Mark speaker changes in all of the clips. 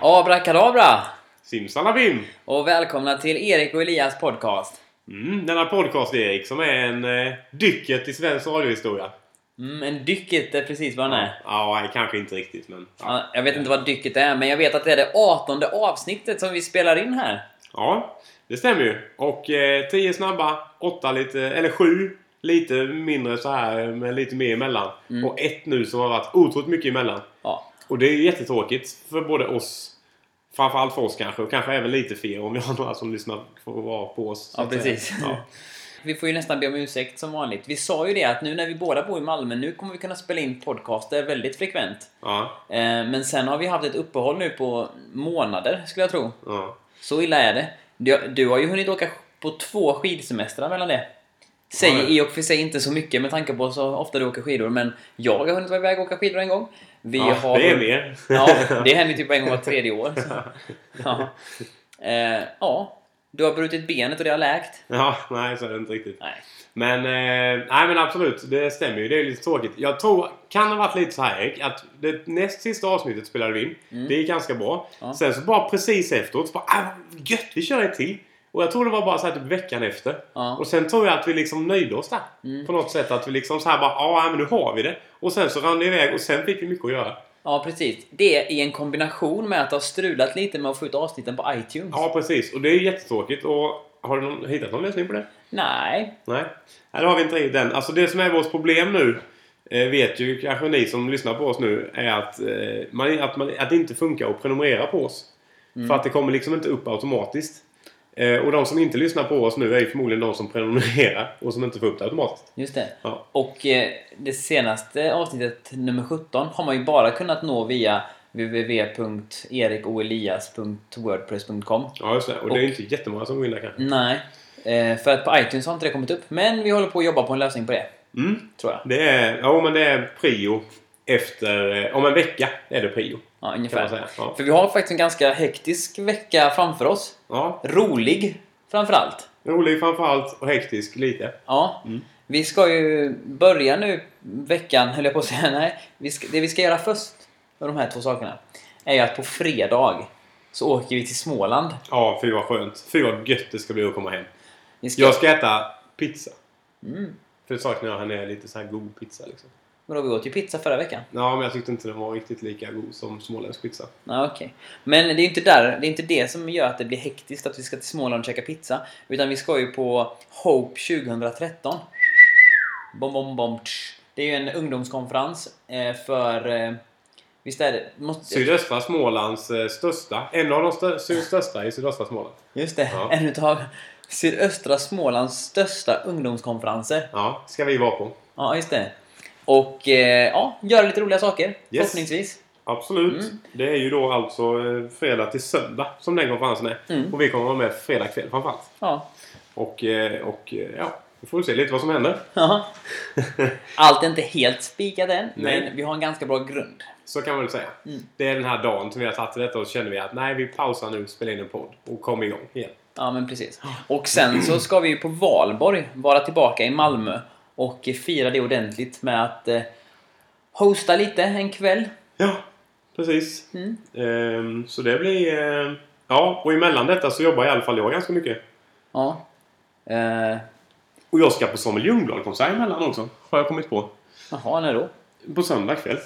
Speaker 1: Abrakadabra!
Speaker 2: Simsalabim!
Speaker 1: Och välkomna till Erik och Elias podcast.
Speaker 2: Mm, denna podcast Erik som är en eh, dycket i svensk radiohistoria.
Speaker 1: Mm, en dycket är precis vad den är.
Speaker 2: Ja, nej, kanske inte riktigt men... Ja.
Speaker 1: Ja, jag vet inte vad dycket är, men jag vet att det är det 18 avsnittet som vi spelar in här.
Speaker 2: ja, det stämmer ju. Och eh, tio snabba, åtta lite, eller sju lite mindre så här eh, men lite mer emellan.
Speaker 1: Mm.
Speaker 2: Och ett nu som har varit otroligt mycket emellan.
Speaker 1: Ja,
Speaker 2: Och det är ju jättetråkigt för både oss Framförallt för oss kanske, och kanske även lite för er om vi har några som lyssnar får vara på oss. så
Speaker 1: Ja,
Speaker 2: att säga.
Speaker 1: precis.
Speaker 2: Ja.
Speaker 1: vi får ju nästan be om ursäkt som vanligt. Vi sa ju det att nu när vi båda bor i Malmö, nu kommer vi kunna spela in podcaster väldigt frekvent.
Speaker 2: Ja,
Speaker 1: Eh, Men sen har vi haft ett uppehåll nu på månader, skulle jag tro.
Speaker 2: ja.
Speaker 1: Så illa är det. Du, du har ju hunnit åka på två skidsemestrar mellan det.
Speaker 2: Har
Speaker 1: Säger
Speaker 2: jag?
Speaker 1: i och för sig inte så mycket med tanke på så ofta du åker skidor, men jag har hunnit vara iväg och åka skidor en gång. Vi
Speaker 2: ja
Speaker 1: har...
Speaker 2: det är mer.
Speaker 1: Ja, det händer typ en gång var tredje år. Så. Ja. Eh, ja, du har brutit benet och det har läkt.
Speaker 2: Ja, nej så är det inte riktigt.
Speaker 1: Nej.
Speaker 2: Men, eh, nej men absolut, det stämmer ju. Det är lite tråkigt. Jag tror, kan ha varit lite så här Erik, att det näst sista avsnittet spelade vi in. Det gick ganska bra.
Speaker 1: Mm. Ja.
Speaker 2: Sen så bara precis efteråt så bara, ah, vad gött, vi kör ett till. Och jag tror det var bara så här typ veckan efter.
Speaker 1: Ja. Mm.
Speaker 2: Och sen tror jag att vi liksom nöjde oss där. På något sätt att vi liksom så här bara, ah, ja men nu har vi det. Och sen så rann det iväg och sen fick vi mycket att göra.
Speaker 1: Ja, precis. Det är i en kombination med att du har strulat lite med att få ut avsnitten på iTunes.
Speaker 2: Ja precis, och det är jättetråkigt. Och har du någon, hittat någon lösning på det?
Speaker 1: Nej.
Speaker 2: Nej, Nej, det har vi inte riktigt än. Alltså det som är vårt problem nu eh, vet ju kanske ni som lyssnar på oss nu är att, eh, man, att, man, att det inte funkar att prenumerera på oss. För att det kommer liksom inte upp automatiskt. Eh, Och de som inte lyssnar på oss nu är ju förmodligen de som prenumererar och som inte får upp det automatiskt.
Speaker 1: Just det.
Speaker 2: Ja.
Speaker 1: Och eh, det senaste avsnittet, nummer 17, har man ju bara kunnat nå via www.erikoelias.wordpress.com
Speaker 2: Ja, just det. Och det är
Speaker 1: Och-
Speaker 2: ju inte jättemånga som går in där kanske.
Speaker 1: Nej, eh, för att på iTunes har inte det kommit upp. Men vi håller på att jobba på en lösning på det,
Speaker 2: Mm.
Speaker 1: tror jag.
Speaker 2: Det är, ja, men det är prio efter... eh, Om en vecka är det prio.
Speaker 1: Ja,
Speaker 2: Kan man
Speaker 1: ungefär.
Speaker 2: säga. Ja.
Speaker 1: För vi har faktiskt en ganska hektisk vecka framför oss.
Speaker 2: ja.
Speaker 1: Rolig, framförallt.
Speaker 2: Rolig framförallt och hektisk lite.
Speaker 1: Ja. Vi ska ju börja nu veckan, höll jag på att säga. Nej, vi ska, det vi ska göra först med de här två sakerna är ju att på fredag så åker vi till Småland.
Speaker 2: Ja, fy vad skönt. Fy vad gött det ska bli att komma hem.
Speaker 1: Vi ska,
Speaker 2: Jag ska äta pizza.
Speaker 1: Mm.
Speaker 2: För det saknar jag här nere, lite så här god pizza liksom.
Speaker 1: Vadå, vi åt ju pizza förra veckan.
Speaker 2: Ja, men jag tyckte inte den var riktigt lika god som småländsk pizza.
Speaker 1: Ja, okej. Men det är ju inte, där, det är inte det som gör att det blir hektiskt att vi ska till Småland och käka pizza. Utan vi ska ju på Hope 2013. Bom, bom, bom, tsch. Det är ju en ungdomskonferens eh, för... eh, Visst är det? Måste,
Speaker 2: Sydöstra Smålands eh, största, en av de stö- sy- största i sydöstra Småland.
Speaker 1: just det.
Speaker 2: Ja.
Speaker 1: En utav sydöstra Smålands största ungdomskonferenser.
Speaker 2: Ja, ska vi vara på.
Speaker 1: Ja, just det. Och eh, ja, göra lite roliga saker. Förhoppningsvis.
Speaker 2: Absolut.
Speaker 1: Mm.
Speaker 2: Det är ju då alltså eh, fredag till söndag som den konferensen är.
Speaker 1: Mm.
Speaker 2: Och vi kommer vara med fredag kväll framförallt.
Speaker 1: Ja.
Speaker 2: Och, eh, och eh, ja, vi får väl se lite vad som händer.
Speaker 1: ja. Allt är inte helt spikat än,
Speaker 2: Nej.
Speaker 1: men vi har en ganska bra grund.
Speaker 2: Så kan man väl säga.
Speaker 1: Mm.
Speaker 2: Det är den här dagen som vi har tagit till detta och så känner vi att nej, vi pausar nu, spelar in en podd och kommer igång igen.
Speaker 1: Ja, men precis. Och sen så ska vi ju på valborg vara tillbaka i Malmö och fira det ordentligt med att eh, hosta lite en kväll.
Speaker 2: Ja, precis.
Speaker 1: Mm.
Speaker 2: Ehm, så det blir... ehm, ja, och emellan detta så jobbar i alla fall jag ganska mycket.
Speaker 1: Ja. Eh,
Speaker 2: Och jag ska på Samuel Ljungdahl-konsert emellan också. Har jag kommit på.
Speaker 1: jaha, när då?
Speaker 2: På söndag kväll.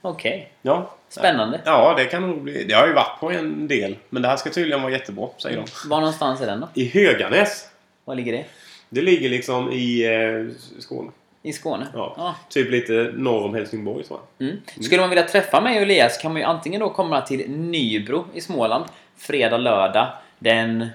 Speaker 1: Okej.
Speaker 2: Ja.
Speaker 1: Spännande.
Speaker 2: Ja, det kan nog bli... Det har jag ju varit på en del. Men det här ska tydligen vara jättebra, säger de.
Speaker 1: Var någonstans är den då?
Speaker 2: I Höganäs.
Speaker 1: Var ligger det?
Speaker 2: Det ligger liksom i eh, Skåne.
Speaker 1: I Skåne?
Speaker 2: Ja. Typ lite norr om Helsingborg, tror jag.
Speaker 1: Mm. Skulle man vilja träffa mig och Elias kan man ju antingen då komma till Nybro i Småland fredag, lördag den...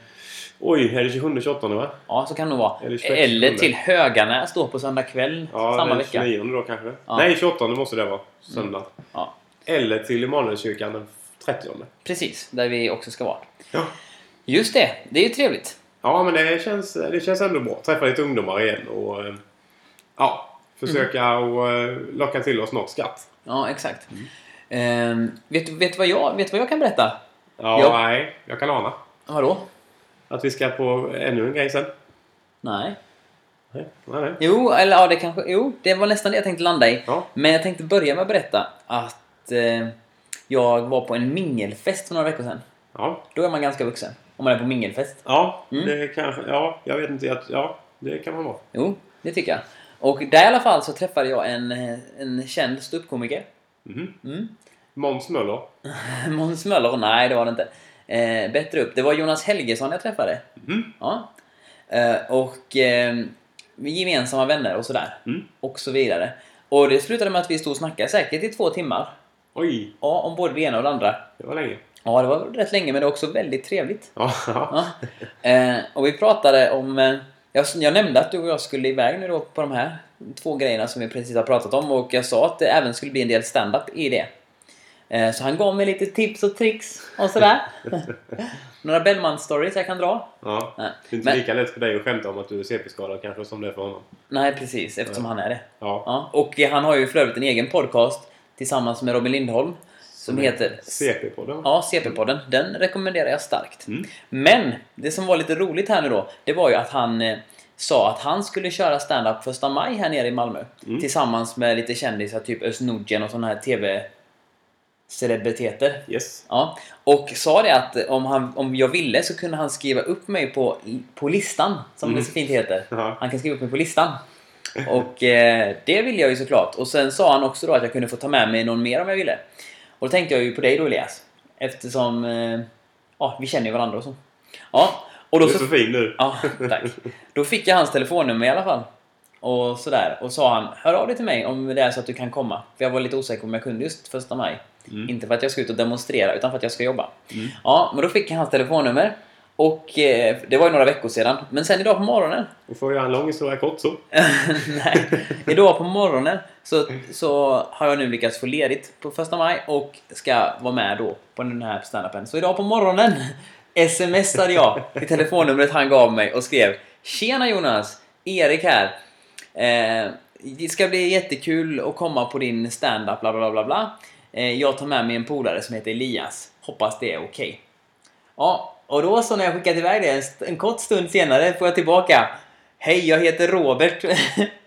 Speaker 2: Oj, är det 27-28 va?
Speaker 1: Ja, så kan det nog vara.
Speaker 2: Eller
Speaker 1: Eller,
Speaker 2: 26,
Speaker 1: till Höganäs då på söndag kväll
Speaker 2: Ja,
Speaker 1: samma
Speaker 2: den
Speaker 1: vecka.
Speaker 2: 29 då kanske.
Speaker 1: Ja. Mm.
Speaker 2: Nej, 28 måste det vara. Söndag.
Speaker 1: Ja.
Speaker 2: Eller till Immanuelskyrkan den 30.
Speaker 1: Precis, där vi också ska vara.
Speaker 2: Ja.
Speaker 1: Just det, det är ju trevligt.
Speaker 2: Ja, men det känns, det känns ändå bra. Träffa lite ungdomar igen och eh, ja, försöka och eh, locka till oss något skatt.
Speaker 1: Ja, exakt.
Speaker 2: Mm.
Speaker 1: Ehm, vet, du- vet, du vad jag, vet du vad jag kan berätta?
Speaker 2: Ja,
Speaker 1: Ja.
Speaker 2: nej, jag kan ana
Speaker 1: Vadå?
Speaker 2: att vi ska på ännu en grej sen.
Speaker 1: Nej.
Speaker 2: Nej, nej, nej.
Speaker 1: Jo, eller ja, det kanske... Jo, det var nästan det jag tänkte landa i.
Speaker 2: Ja.
Speaker 1: Men jag tänkte börja med att berätta att eh, Jag var på en mingelfest för några veckor sedan.
Speaker 2: Ja,
Speaker 1: Då är man ganska vuxen. Om man är på mingelfest.
Speaker 2: ja
Speaker 1: Mm.
Speaker 2: det kanske... Ja, jag vet inte. Jag, ja, det kan man vara.
Speaker 1: Jo, det tycker jag. Och där i alla fall så träffade jag en, eh, en känd ståuppkomiker.
Speaker 2: Mhm.
Speaker 1: Mm.
Speaker 2: Måns Möller.
Speaker 1: Måns Möller? Nej, det var det inte. Eh, bättre upp. Det var Jonas Helgesson jag träffade.
Speaker 2: Mhm.
Speaker 1: Ja. Eh, och eh, vi är gemensamma vänner och sådär.
Speaker 2: Mm.
Speaker 1: Och så vidare. Och det slutade med att vi stod och snackade säkert i två timmar.
Speaker 2: Oj,
Speaker 1: Ja, om både det ena och det andra.
Speaker 2: det var länge.
Speaker 1: Ja, det var rätt länge men det var också väldigt trevligt.
Speaker 2: Ja, ja.
Speaker 1: Ja. Eh, och vi pratade om... Eh, jag, jag nämnde att du och jag skulle iväg nu då på de här två grejerna som vi precis har pratat om och jag sa att det även skulle bli en del stand-up i det. Eh, så han gav mig lite tips och tricks och sådär. Några Bellman-stories jag kan dra.
Speaker 2: ja.
Speaker 1: Nej.
Speaker 2: Det är inte
Speaker 1: Men-
Speaker 2: lika lätt för dig att skämta om att du är CP-skadad kanske som det är för honom.
Speaker 1: Nej, precis, eftersom han är det.
Speaker 2: Ja.
Speaker 1: Ja. Och eh, han har ju för övrigt en egen podcast tillsammans med Robin Lindholm som heter
Speaker 2: CP-podden.
Speaker 1: Ja, CP-podden. Den rekommenderar jag starkt.
Speaker 2: Mm.
Speaker 1: Men det som var lite roligt här nu då, det var ju att han eh, sa att han skulle köra stand-up första maj här nere i Malmö.
Speaker 2: Mm.
Speaker 1: Tillsammans med lite kändisar, typ Özz Nudjen och sådana här TV-celebriteter.
Speaker 2: Yes.
Speaker 1: Ja, och sa det att om, han, om jag ville så kunde han skriva upp mig på, på listan, som det så fint heter.
Speaker 2: Mm. Ja.
Speaker 1: Han kan skriva upp mig på listan. Och eh, det ville jag ju såklart. Och sen sa han också då att jag kunde få ta med mig någon mer om jag ville. Och då tänkte jag ju på dig då Elias. Eftersom... Eh, ja, vi känner ju varandra och så. Ja, och
Speaker 2: Du
Speaker 1: då
Speaker 2: är
Speaker 1: så...
Speaker 2: så fin nu.
Speaker 1: Ja, tack. Då fick jag hans telefonnummer i alla fall. Och sådär. Och sa han, hör av dig till mig om det är så att du kan komma. För jag var lite osäker om jag kunde just första maj.
Speaker 2: Mm.
Speaker 1: Inte för att jag ska ut och demonstrera, utan för att jag ska jobba. Ja, men då fick jag hans telefonnummer. Och eh, det var ju några veckor sedan. Men sen idag på morgonen
Speaker 2: Vi får göra en lång historia kort så.
Speaker 1: Nej, idag på morgonen så, så har jag nu lyckats få ledigt på första maj och ska vara med då på den här standupen. Så idag på morgonen smsade jag till telefonnumret han gav mig och skrev Tjena Jonas! Erik här. Eh, det ska bli jättekul att komma på din standup bla bla bla bla bla. Eh, jag tar med mig en polare som heter Elias. Hoppas det är okej. Ja, och då så när jag skickat iväg det en, st- en kort stund senare får jag tillbaka Hej, jag heter Robert.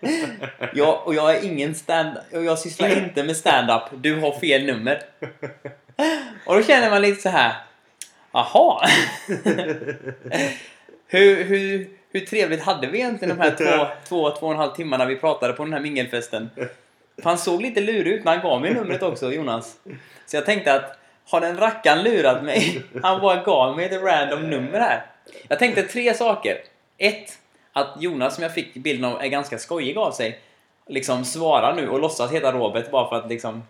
Speaker 1: jag, och jag är ingen stand och jag sysslar inte med stand-up. Du har fel nummer. och då känner man lite så här. Jaha. hur, hur, hur trevligt hade vi egentligen de här två, två, två och en halv timmarna vi pratade på den här mingelfesten? För han såg lite lurig ut när han gav mig numret också, Jonas. Så jag tänkte att har den rackaren lurat mig? Han bara gav mig ett random nummer här. Jag tänkte tre saker. Ett, att Jonas som jag fick bilden av är ganska skojig av sig. Liksom svarar nu och låtsas heta Robert bara för att liksom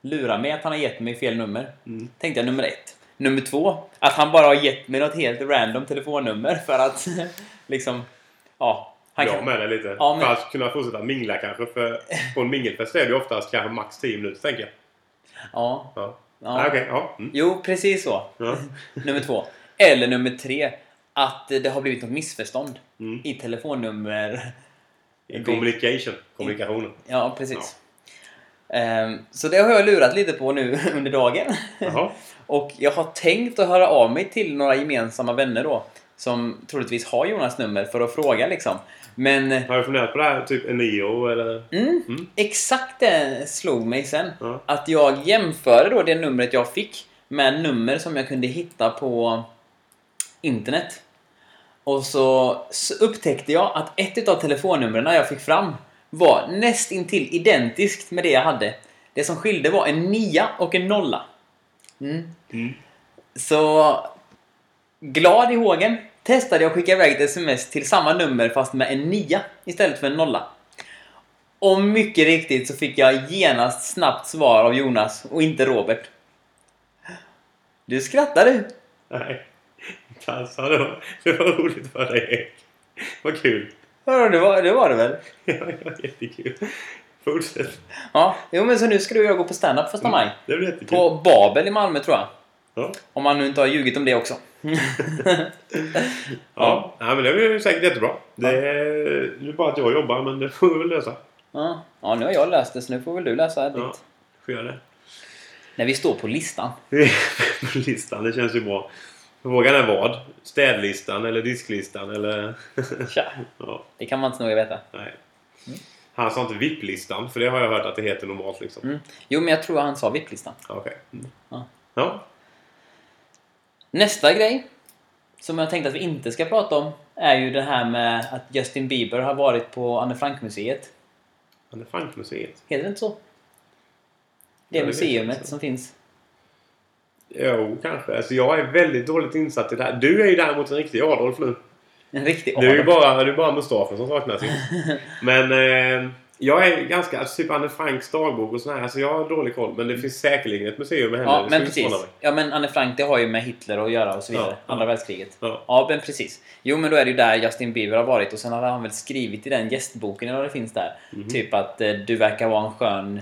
Speaker 1: lura mig att han har gett mig fel nummer.
Speaker 2: Mm.
Speaker 1: Tänkte jag nummer ett. Nummer två, att han bara har gett mig något helt random telefonnummer för att liksom, ja. Han
Speaker 2: Jag med dig lite.
Speaker 1: Ja, men-
Speaker 2: För att kunna fortsätta mingla kanske. För på en mingelfest är det ju oftast kanske max 10 minuter tänker jag.
Speaker 1: Ja.
Speaker 2: Ja.
Speaker 1: ja.
Speaker 2: Ah, Okej, ja. Mm.
Speaker 1: Jo, precis så.
Speaker 2: ja.
Speaker 1: Nummer två. Eller nummer tre. Att det har blivit något missförstånd
Speaker 2: Mm.
Speaker 1: i telefonnummer.
Speaker 2: In Communication. Kommunikationen.
Speaker 1: Ja, precis. Ehm, så det har jag lurat lite på nu under dagen.
Speaker 2: Jaha.
Speaker 1: Och jag har tänkt att höra av mig till några gemensamma vänner då. Som troligtvis har Jonas nummer för att fråga liksom. Men
Speaker 2: Har du funderat på det här? Typ Enio eller?
Speaker 1: mm,
Speaker 2: Mm.
Speaker 1: exakt det slog mig sen.
Speaker 2: Ja.
Speaker 1: Att jag jämförde då det numret jag fick med nummer som jag kunde hitta på internet. Och så s- upptäckte jag att ett utav telefonnumren jag fick fram var nästintill identiskt med det jag hade. Det som skilde var en nia och en nolla. Mm.
Speaker 2: Mm.
Speaker 1: Så glad i hågen testade jag att skicka iväg ett sms till samma nummer fast med en nia istället för en nolla. Och mycket riktigt så fick jag genast snabbt svar av Jonas och inte Robert. Du skrattar du.
Speaker 2: Nej. Alltså, det var, det var roligt för dig Erik. Vad kul.
Speaker 1: Vadå, det var, det var det väl?
Speaker 2: Ja, det var jättekul. Fortsätt.
Speaker 1: Ja, jo men så nu ska du och jag gå på standup första maj.
Speaker 2: Det blir jättekul.
Speaker 1: På Babel i Malmö tror jag.
Speaker 2: Ja.
Speaker 1: Om man nu inte har ljugit om det också.
Speaker 2: Ja. ja, men det blir säkert jättebra. Det är, det är bara att jag jobbar, men det får vi väl lösa.
Speaker 1: Ja, ja nu har jag löst det så nu får väl du lösa ditt.
Speaker 2: Ja, får göra det.
Speaker 1: När vi står på listan.
Speaker 2: På listan, det känns ju bra. Frågan är vad? Städlistan eller disklistan eller...
Speaker 1: Tja, Mm.
Speaker 2: ja,
Speaker 1: det kan man inte nog veta.
Speaker 2: nej. Han sa inte VIP-listan, för det har jag hört att det heter normalt liksom.
Speaker 1: Mm. Jo, men jag tror han sa VIP-listan.
Speaker 2: Okej. Mm.
Speaker 1: Ja.
Speaker 2: Ja.
Speaker 1: Nästa grej som jag tänkte att vi inte ska prata om är ju det här med att Justin Bieber har varit på Anne Frank-museet.
Speaker 2: Anne Frank-museet.
Speaker 1: Heter det inte så?
Speaker 2: Ja,
Speaker 1: Det
Speaker 2: det vet jag
Speaker 1: museumet
Speaker 2: inte.
Speaker 1: som finns.
Speaker 2: Jo, kanske. Alltså, jag är väldigt dåligt insatt i det här. Du är ju däremot en riktig Adolf nu.
Speaker 1: En riktig
Speaker 2: Du är ju
Speaker 1: Adolf.
Speaker 2: bara, det är bara mustaschen som saknas. ju. Men eh, jag är ganska... Alltså, typ Anne Franks dagbok och sådär. Alltså, jag har dålig koll. Men det finns säkerligen ett museum med henne.
Speaker 1: Ja,
Speaker 2: Det
Speaker 1: men
Speaker 2: skulle inte
Speaker 1: precis.
Speaker 2: förvåna mig.
Speaker 1: Ja, men Anne Frank, det har ju med Hitler att göra och så vidare.
Speaker 2: Ja, ja.
Speaker 1: Andra världskriget.
Speaker 2: Ja.
Speaker 1: Ja, men precis. Jo, men då är det ju där Justin Bieber har varit och sen har han väl skrivit i den gästboken eller vad det finns där.
Speaker 2: Mhm.
Speaker 1: Typ att eh, du verkar vara en skön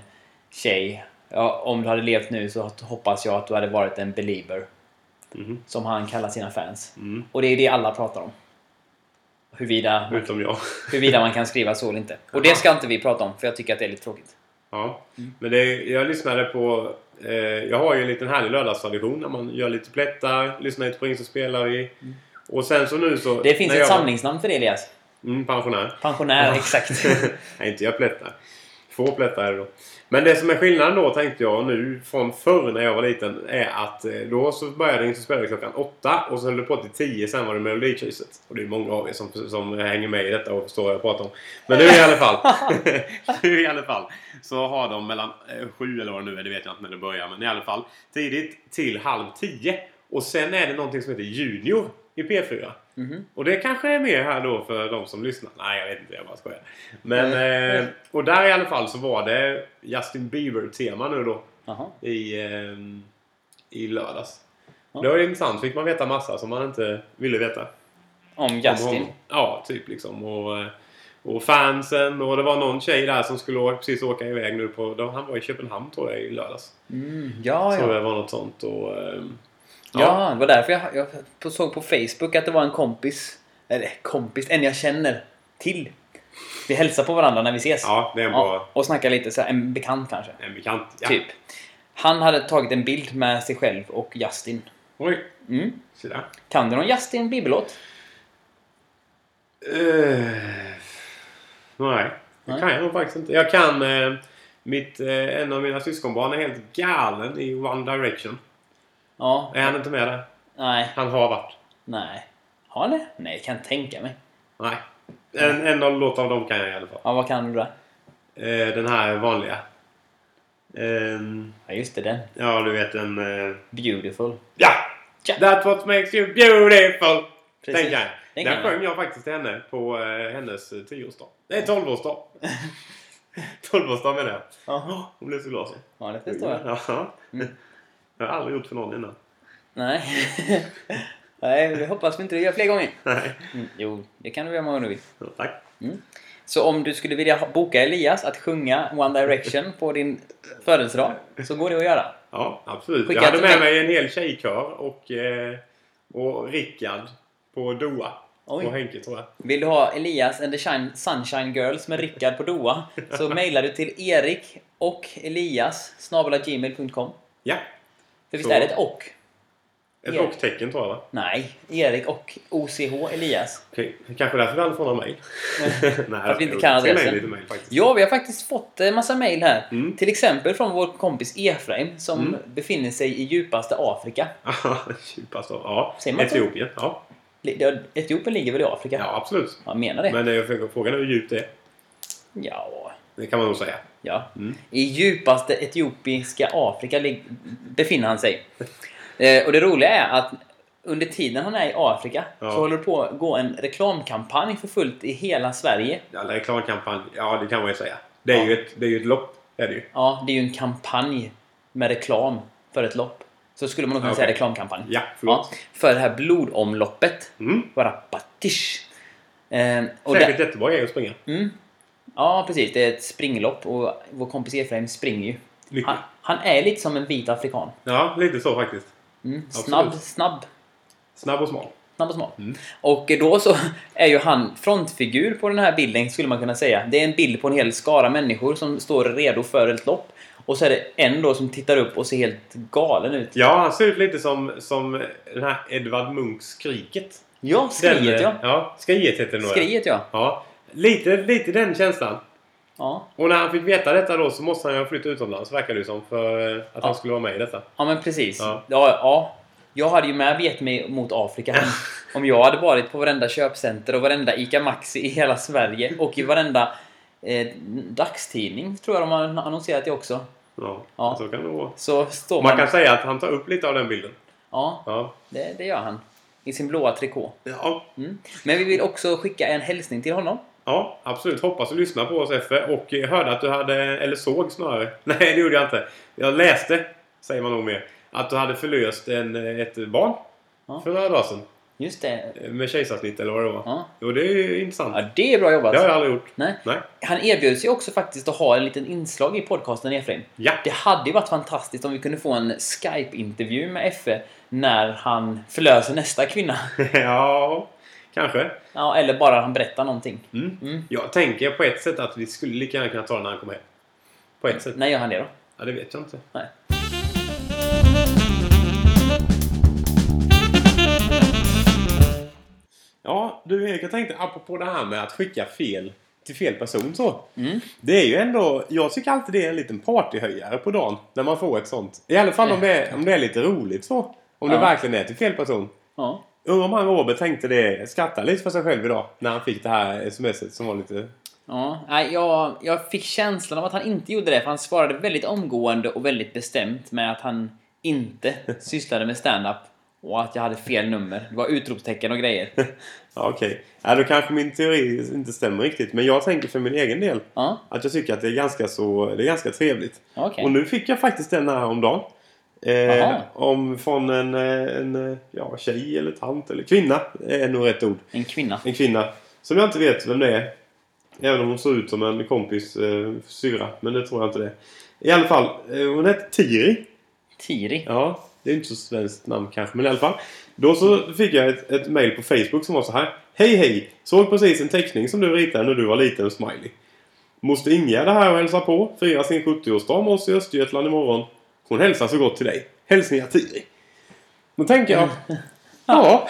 Speaker 1: tjej. Ja, om du hade levt nu så hoppas jag att du hade varit en belieber.
Speaker 2: Mhm.
Speaker 1: Som han kallar sina fans.
Speaker 2: Mm.
Speaker 1: Och det är det alla pratar om. Huruvida,
Speaker 2: Utom jag.
Speaker 1: huruvida man kan skriva så eller inte. Och det ska inte vi prata om, för jag tycker att det är lite tråkigt.
Speaker 2: Ja,
Speaker 1: Mm.
Speaker 2: men det, jag lyssnade på... Eh, jag har ju en liten härlig lördagstradition när man gör lite plättar, lyssnar lite på in som spelar i. Och sen så nu så...
Speaker 1: Mm. Det finns
Speaker 2: när
Speaker 1: ett
Speaker 2: jag-
Speaker 1: samlingsnamn för det, Elias.
Speaker 2: Mm, pensionär.
Speaker 1: Pensionär, exakt.
Speaker 2: Nej, inte jag plättar. Få plättar är det då. Men det som är skillnaden då tänkte jag nu från förr när jag var liten är att eh, då så började det spela klockan åtta och så höll det på till tio sen var det Meloditjuset. Och det är många av er som, som hänger med i detta och förstår vad jag pratar om. Men nu i alla fall. nu i alla fall. Så har de mellan eh, sju eller vad det nu är, det vet jag inte när det börjar. Men i alla fall tidigt till halv tio. Och sen är det någonting som heter Junior i P4.
Speaker 1: Mhm.
Speaker 2: Och det kanske är mer här då för de som lyssnar. Nej, jag vet inte. Jag bara skojar. Men, eh, och där i alla fall så var det Justin Bieber-tema nu då
Speaker 1: Jaha.
Speaker 2: i, eh, i lördags.
Speaker 1: Ja.
Speaker 2: Det var ju intressant. Fick man veta massa som man inte ville veta.
Speaker 1: Om
Speaker 2: Om
Speaker 1: Justin.
Speaker 2: honom. Ja, typ liksom. Och, eh, och fansen och det var någon tjej där som skulle å- precis åka iväg nu på... då- Han var i Köpenhamn tror jag i lördags.
Speaker 1: Mm, ja,
Speaker 2: Så
Speaker 1: ja.
Speaker 2: det var något sånt och... eh,
Speaker 1: Ja, det var därför jag, jag på- såg på Facebook att det var en kompis. Eller kompis, en jag känner till. Vi hälsar på varandra när vi ses.
Speaker 2: Ja, det är en bra...
Speaker 1: Ja, och snackar lite så här, en bekant kanske.
Speaker 2: En bekant. Ja.
Speaker 1: Typ. Han hade tagit en bild med sig själv och Justin.
Speaker 2: Oj,
Speaker 1: Mm.
Speaker 2: se där.
Speaker 1: Kan du någon Justin Bieberlåt?
Speaker 2: Eh, nej, det
Speaker 1: Nej.
Speaker 2: kan jag nog faktiskt inte. Jag kan... eh, mitt, eh, en av mina syskonbarn är helt galen i One Direction.
Speaker 1: Ja.
Speaker 2: Är han inte med där?
Speaker 1: Nej.
Speaker 2: Han har varit.
Speaker 1: Nej. Har han det? Nej, kan jag tänka mig.
Speaker 2: Nej. En, en av låtarna av dem kan jag i alla fall.
Speaker 1: Ja, vad kan du där?
Speaker 2: Eh, den här vanliga. Eh,
Speaker 1: Ja, just det. Den.
Speaker 2: ja, du vet den... Eh,
Speaker 1: Beautiful.
Speaker 2: ja!
Speaker 1: Tja.
Speaker 2: That's what makes you beautiful!
Speaker 1: Precis.
Speaker 2: Den kan jag.
Speaker 1: Den
Speaker 2: Den,
Speaker 1: kan jag.
Speaker 2: sjöng jag faktiskt till henne på eh, hennes eh, tioårsdag. Nej, tolvårsdag. tolvårsdag menar jag.
Speaker 1: Ja,
Speaker 2: Hon blev så glad så.
Speaker 1: ja det förstår jag. Mm.
Speaker 2: Ja. Jag har aldrig gjort för någon innan.
Speaker 1: Nej. Nej, det hoppas vi inte du gör fler gånger.
Speaker 2: Nej.
Speaker 1: Mm, jo, det kan du göra många du vill.
Speaker 2: Ja, Tack.
Speaker 1: Så om du skulle vilja ha- boka Elias att sjunga One Direction på din födelsedag så går det att göra.
Speaker 2: Ja, absolut.
Speaker 1: Skicka
Speaker 2: jag hade
Speaker 1: till
Speaker 2: med
Speaker 1: mig.
Speaker 2: mig en hel tjejkör och, eh, och Rickard på Doa.
Speaker 1: Oj.
Speaker 2: Och Henke tror jag.
Speaker 1: Vill du ha Elias and the Shine, Sunshine Girls med Rickard på Doha så mejlar du till Erik och Elias snabelagmail.com.
Speaker 2: Ja.
Speaker 1: För visst
Speaker 2: Så.
Speaker 1: är det ett och?
Speaker 2: Ett
Speaker 1: Ja.
Speaker 2: rocktecken tror jag va?
Speaker 1: Nej, Erik och OCH Elias.
Speaker 2: Okej. Kanske därför vi aldrig får några mejl. Nej,
Speaker 1: För att vi inte
Speaker 2: jo,
Speaker 1: kan
Speaker 2: jag skrev
Speaker 1: adressen.
Speaker 2: in lite mejl faktiskt.
Speaker 1: Ja, vi har faktiskt fått en massa mejl här.
Speaker 2: Mm.
Speaker 1: Till exempel från vår kompis Efraim som befinner sig i djupaste Afrika.
Speaker 2: Djupast av. Ja.
Speaker 1: Säger man så?
Speaker 2: Etiopien. Ja.
Speaker 1: Li- ja, Etiopien ligger väl i Afrika?
Speaker 2: ja, absolut.
Speaker 1: Jag menar det.
Speaker 2: Men det är frågan är hur djupt det är.
Speaker 1: Ja,
Speaker 2: Det kan man nog säga.
Speaker 1: Ja.
Speaker 2: Mm.
Speaker 1: I djupaste etiopiska Afrika lig- befinner han sig. Eh, och det roliga är att under tiden han är i Afrika
Speaker 2: Ja.
Speaker 1: så håller det på att gå en reklamkampanj för fullt i hela Sverige.
Speaker 2: Ja, reklamkampanj. Ja, det kan man ju säga. Det är,
Speaker 1: Ja.
Speaker 2: ju, ett, det är ju ett lopp. Är det ju.
Speaker 1: Ja, det är ju en kampanj med reklam för ett lopp. Så skulle man nog kunna
Speaker 2: Okej.
Speaker 1: säga reklamkampanj.
Speaker 2: Ja, förlåt.
Speaker 1: för det här blodomloppet.
Speaker 2: Mm.
Speaker 1: Varapatish. Eh, och där-
Speaker 2: Säkert jättebra grej att springa.
Speaker 1: Ja, precis. Det är ett springlopp och vår kompis Efraim springer ju.
Speaker 2: Mycket.
Speaker 1: Han, han är lite som en vit afrikan.
Speaker 2: Ja, lite så faktiskt.
Speaker 1: Mm. Snabb,
Speaker 2: Absolut.
Speaker 1: snabb
Speaker 2: Snabb och smal.
Speaker 1: Snabb och smal. Och då så är ju han frontfigur på den här bilden, skulle man kunna säga. Det är en bild på en hel skara människor som står redo för ett lopp. Och så är det en då som tittar upp och ser helt galen ut.
Speaker 2: Ja, han ser ut lite som, som den här Edvard Munchs Skriket.
Speaker 1: Ja, skriet
Speaker 2: den, eh,
Speaker 1: ja.
Speaker 2: ja. Skriet heter det nog. ja.
Speaker 1: Skriet ja.
Speaker 2: Ja. Lite, lite den känslan.
Speaker 1: Ja.
Speaker 2: Och när han fick veta detta då så måste han ju ha flyttat utomlands verkar det ju som. För eh, att
Speaker 1: Ja.
Speaker 2: han skulle vara med i detta.
Speaker 1: ja, men precis. Ja.
Speaker 2: Ja.
Speaker 1: Ja, Jag hade ju med begett mig mot Afrika. Om jag hade varit på varenda köpcenter och varenda ICA Maxi i hela Sverige och i varenda eh, dagstidning tror jag de har annonserat det också.
Speaker 2: Ja,
Speaker 1: Ja.
Speaker 2: så kan det vara.
Speaker 1: Så står man...
Speaker 2: Man kan säga att han tar upp lite av den bilden.
Speaker 1: Ja,
Speaker 2: Ja.
Speaker 1: det, det gör han. I sin blåa trikå.
Speaker 2: Ja,
Speaker 1: Mm. Men vi vill också skicka en hälsning till honom.
Speaker 2: ja absolut. Hoppas du lyssnar på oss Effe. Och eh, hörde att du hade, eller såg snarare. Nej, det gjorde jag inte. Jag läste, säger man nog mer. Att du hade förlöst en, eh, ett barn.
Speaker 1: Ja.
Speaker 2: För några dagar sedan.
Speaker 1: Just det.
Speaker 2: Eh, Med kejsarsnitt eller vad det var.
Speaker 1: Ja,
Speaker 2: Jo, det är ju intressant.
Speaker 1: ja det är bra jobbat.
Speaker 2: Det har jag aldrig gjort.
Speaker 1: Nej.
Speaker 2: Nej.
Speaker 1: Han erbjöd sig också faktiskt att ha en liten inslag i podcasten Efraim.
Speaker 2: Ja.
Speaker 1: Det hade ju varit fantastiskt om vi kunde få en Skype-intervju med Effe när han förlöser nästa kvinna.
Speaker 2: ja, kanske.
Speaker 1: Ja, eller bara han berättar någonting.
Speaker 2: Mm.
Speaker 1: Mm.
Speaker 2: Jag tänker på ett sätt att vi skulle lika gärna kunna ta den när han kommer hem. På ett sätt.
Speaker 1: När gör han det då?
Speaker 2: Ja, det vet jag inte.
Speaker 1: Nej.
Speaker 2: Ja, du Erik, jag tänkte apropå det här med att skicka fel till fel person så.
Speaker 1: Mm.
Speaker 2: Det är ju ändå, jag tycker alltid det är en liten partyhöjare på dagen när man får ett sånt. I alla fall om det är, om det är lite roligt så. Om
Speaker 1: Ja.
Speaker 2: det verkligen är till fel person.
Speaker 1: Ja.
Speaker 2: Undrar om han Robert tänkte det, skratta lite för sig själv idag när han fick det här smset som var lite...
Speaker 1: Ja, nej, jag, jag fick känslan av att han inte gjorde det, för han svarade väldigt omgående och väldigt bestämt med att han inte sysslade med stand-up och att jag hade fel nummer. Det var utropstecken och grejer.
Speaker 2: Ja, okej. Ja, då kanske min teori inte stämmer riktigt. Men jag tänker för min egen del
Speaker 1: Ja,
Speaker 2: att jag tycker att det är ganska så... Det är ganska trevligt.
Speaker 1: okej.
Speaker 2: Och nu fick jag faktiskt den här om dagen. Eh,
Speaker 1: Jaha.
Speaker 2: om från en, eh, en eh, ja, tjej eller tant eller kvinna eh, är nog rätt ord.
Speaker 1: En kvinna.
Speaker 2: En kvinna som jag inte vet vem det är. Även om hon såg ut som en kompis eh, syra. Men det tror jag inte det. är. I alla fall, eh, hon hette Tiri.
Speaker 1: Tiri.
Speaker 2: Ja, det är inte så svenskt namn kanske, men i alla fall. Då så fick jag ett, ett mail på Facebook som var så här. Hej hej! Såg precis en teckning som du ritade när du var liten, smiley. Måste Ingegärd här och hälsa på. Firar sin 70-årsdag med oss i Östergötland imorgon. Hon hälsar så gott till dig. Hälsningar Tiri. Då tänker jag. Ja.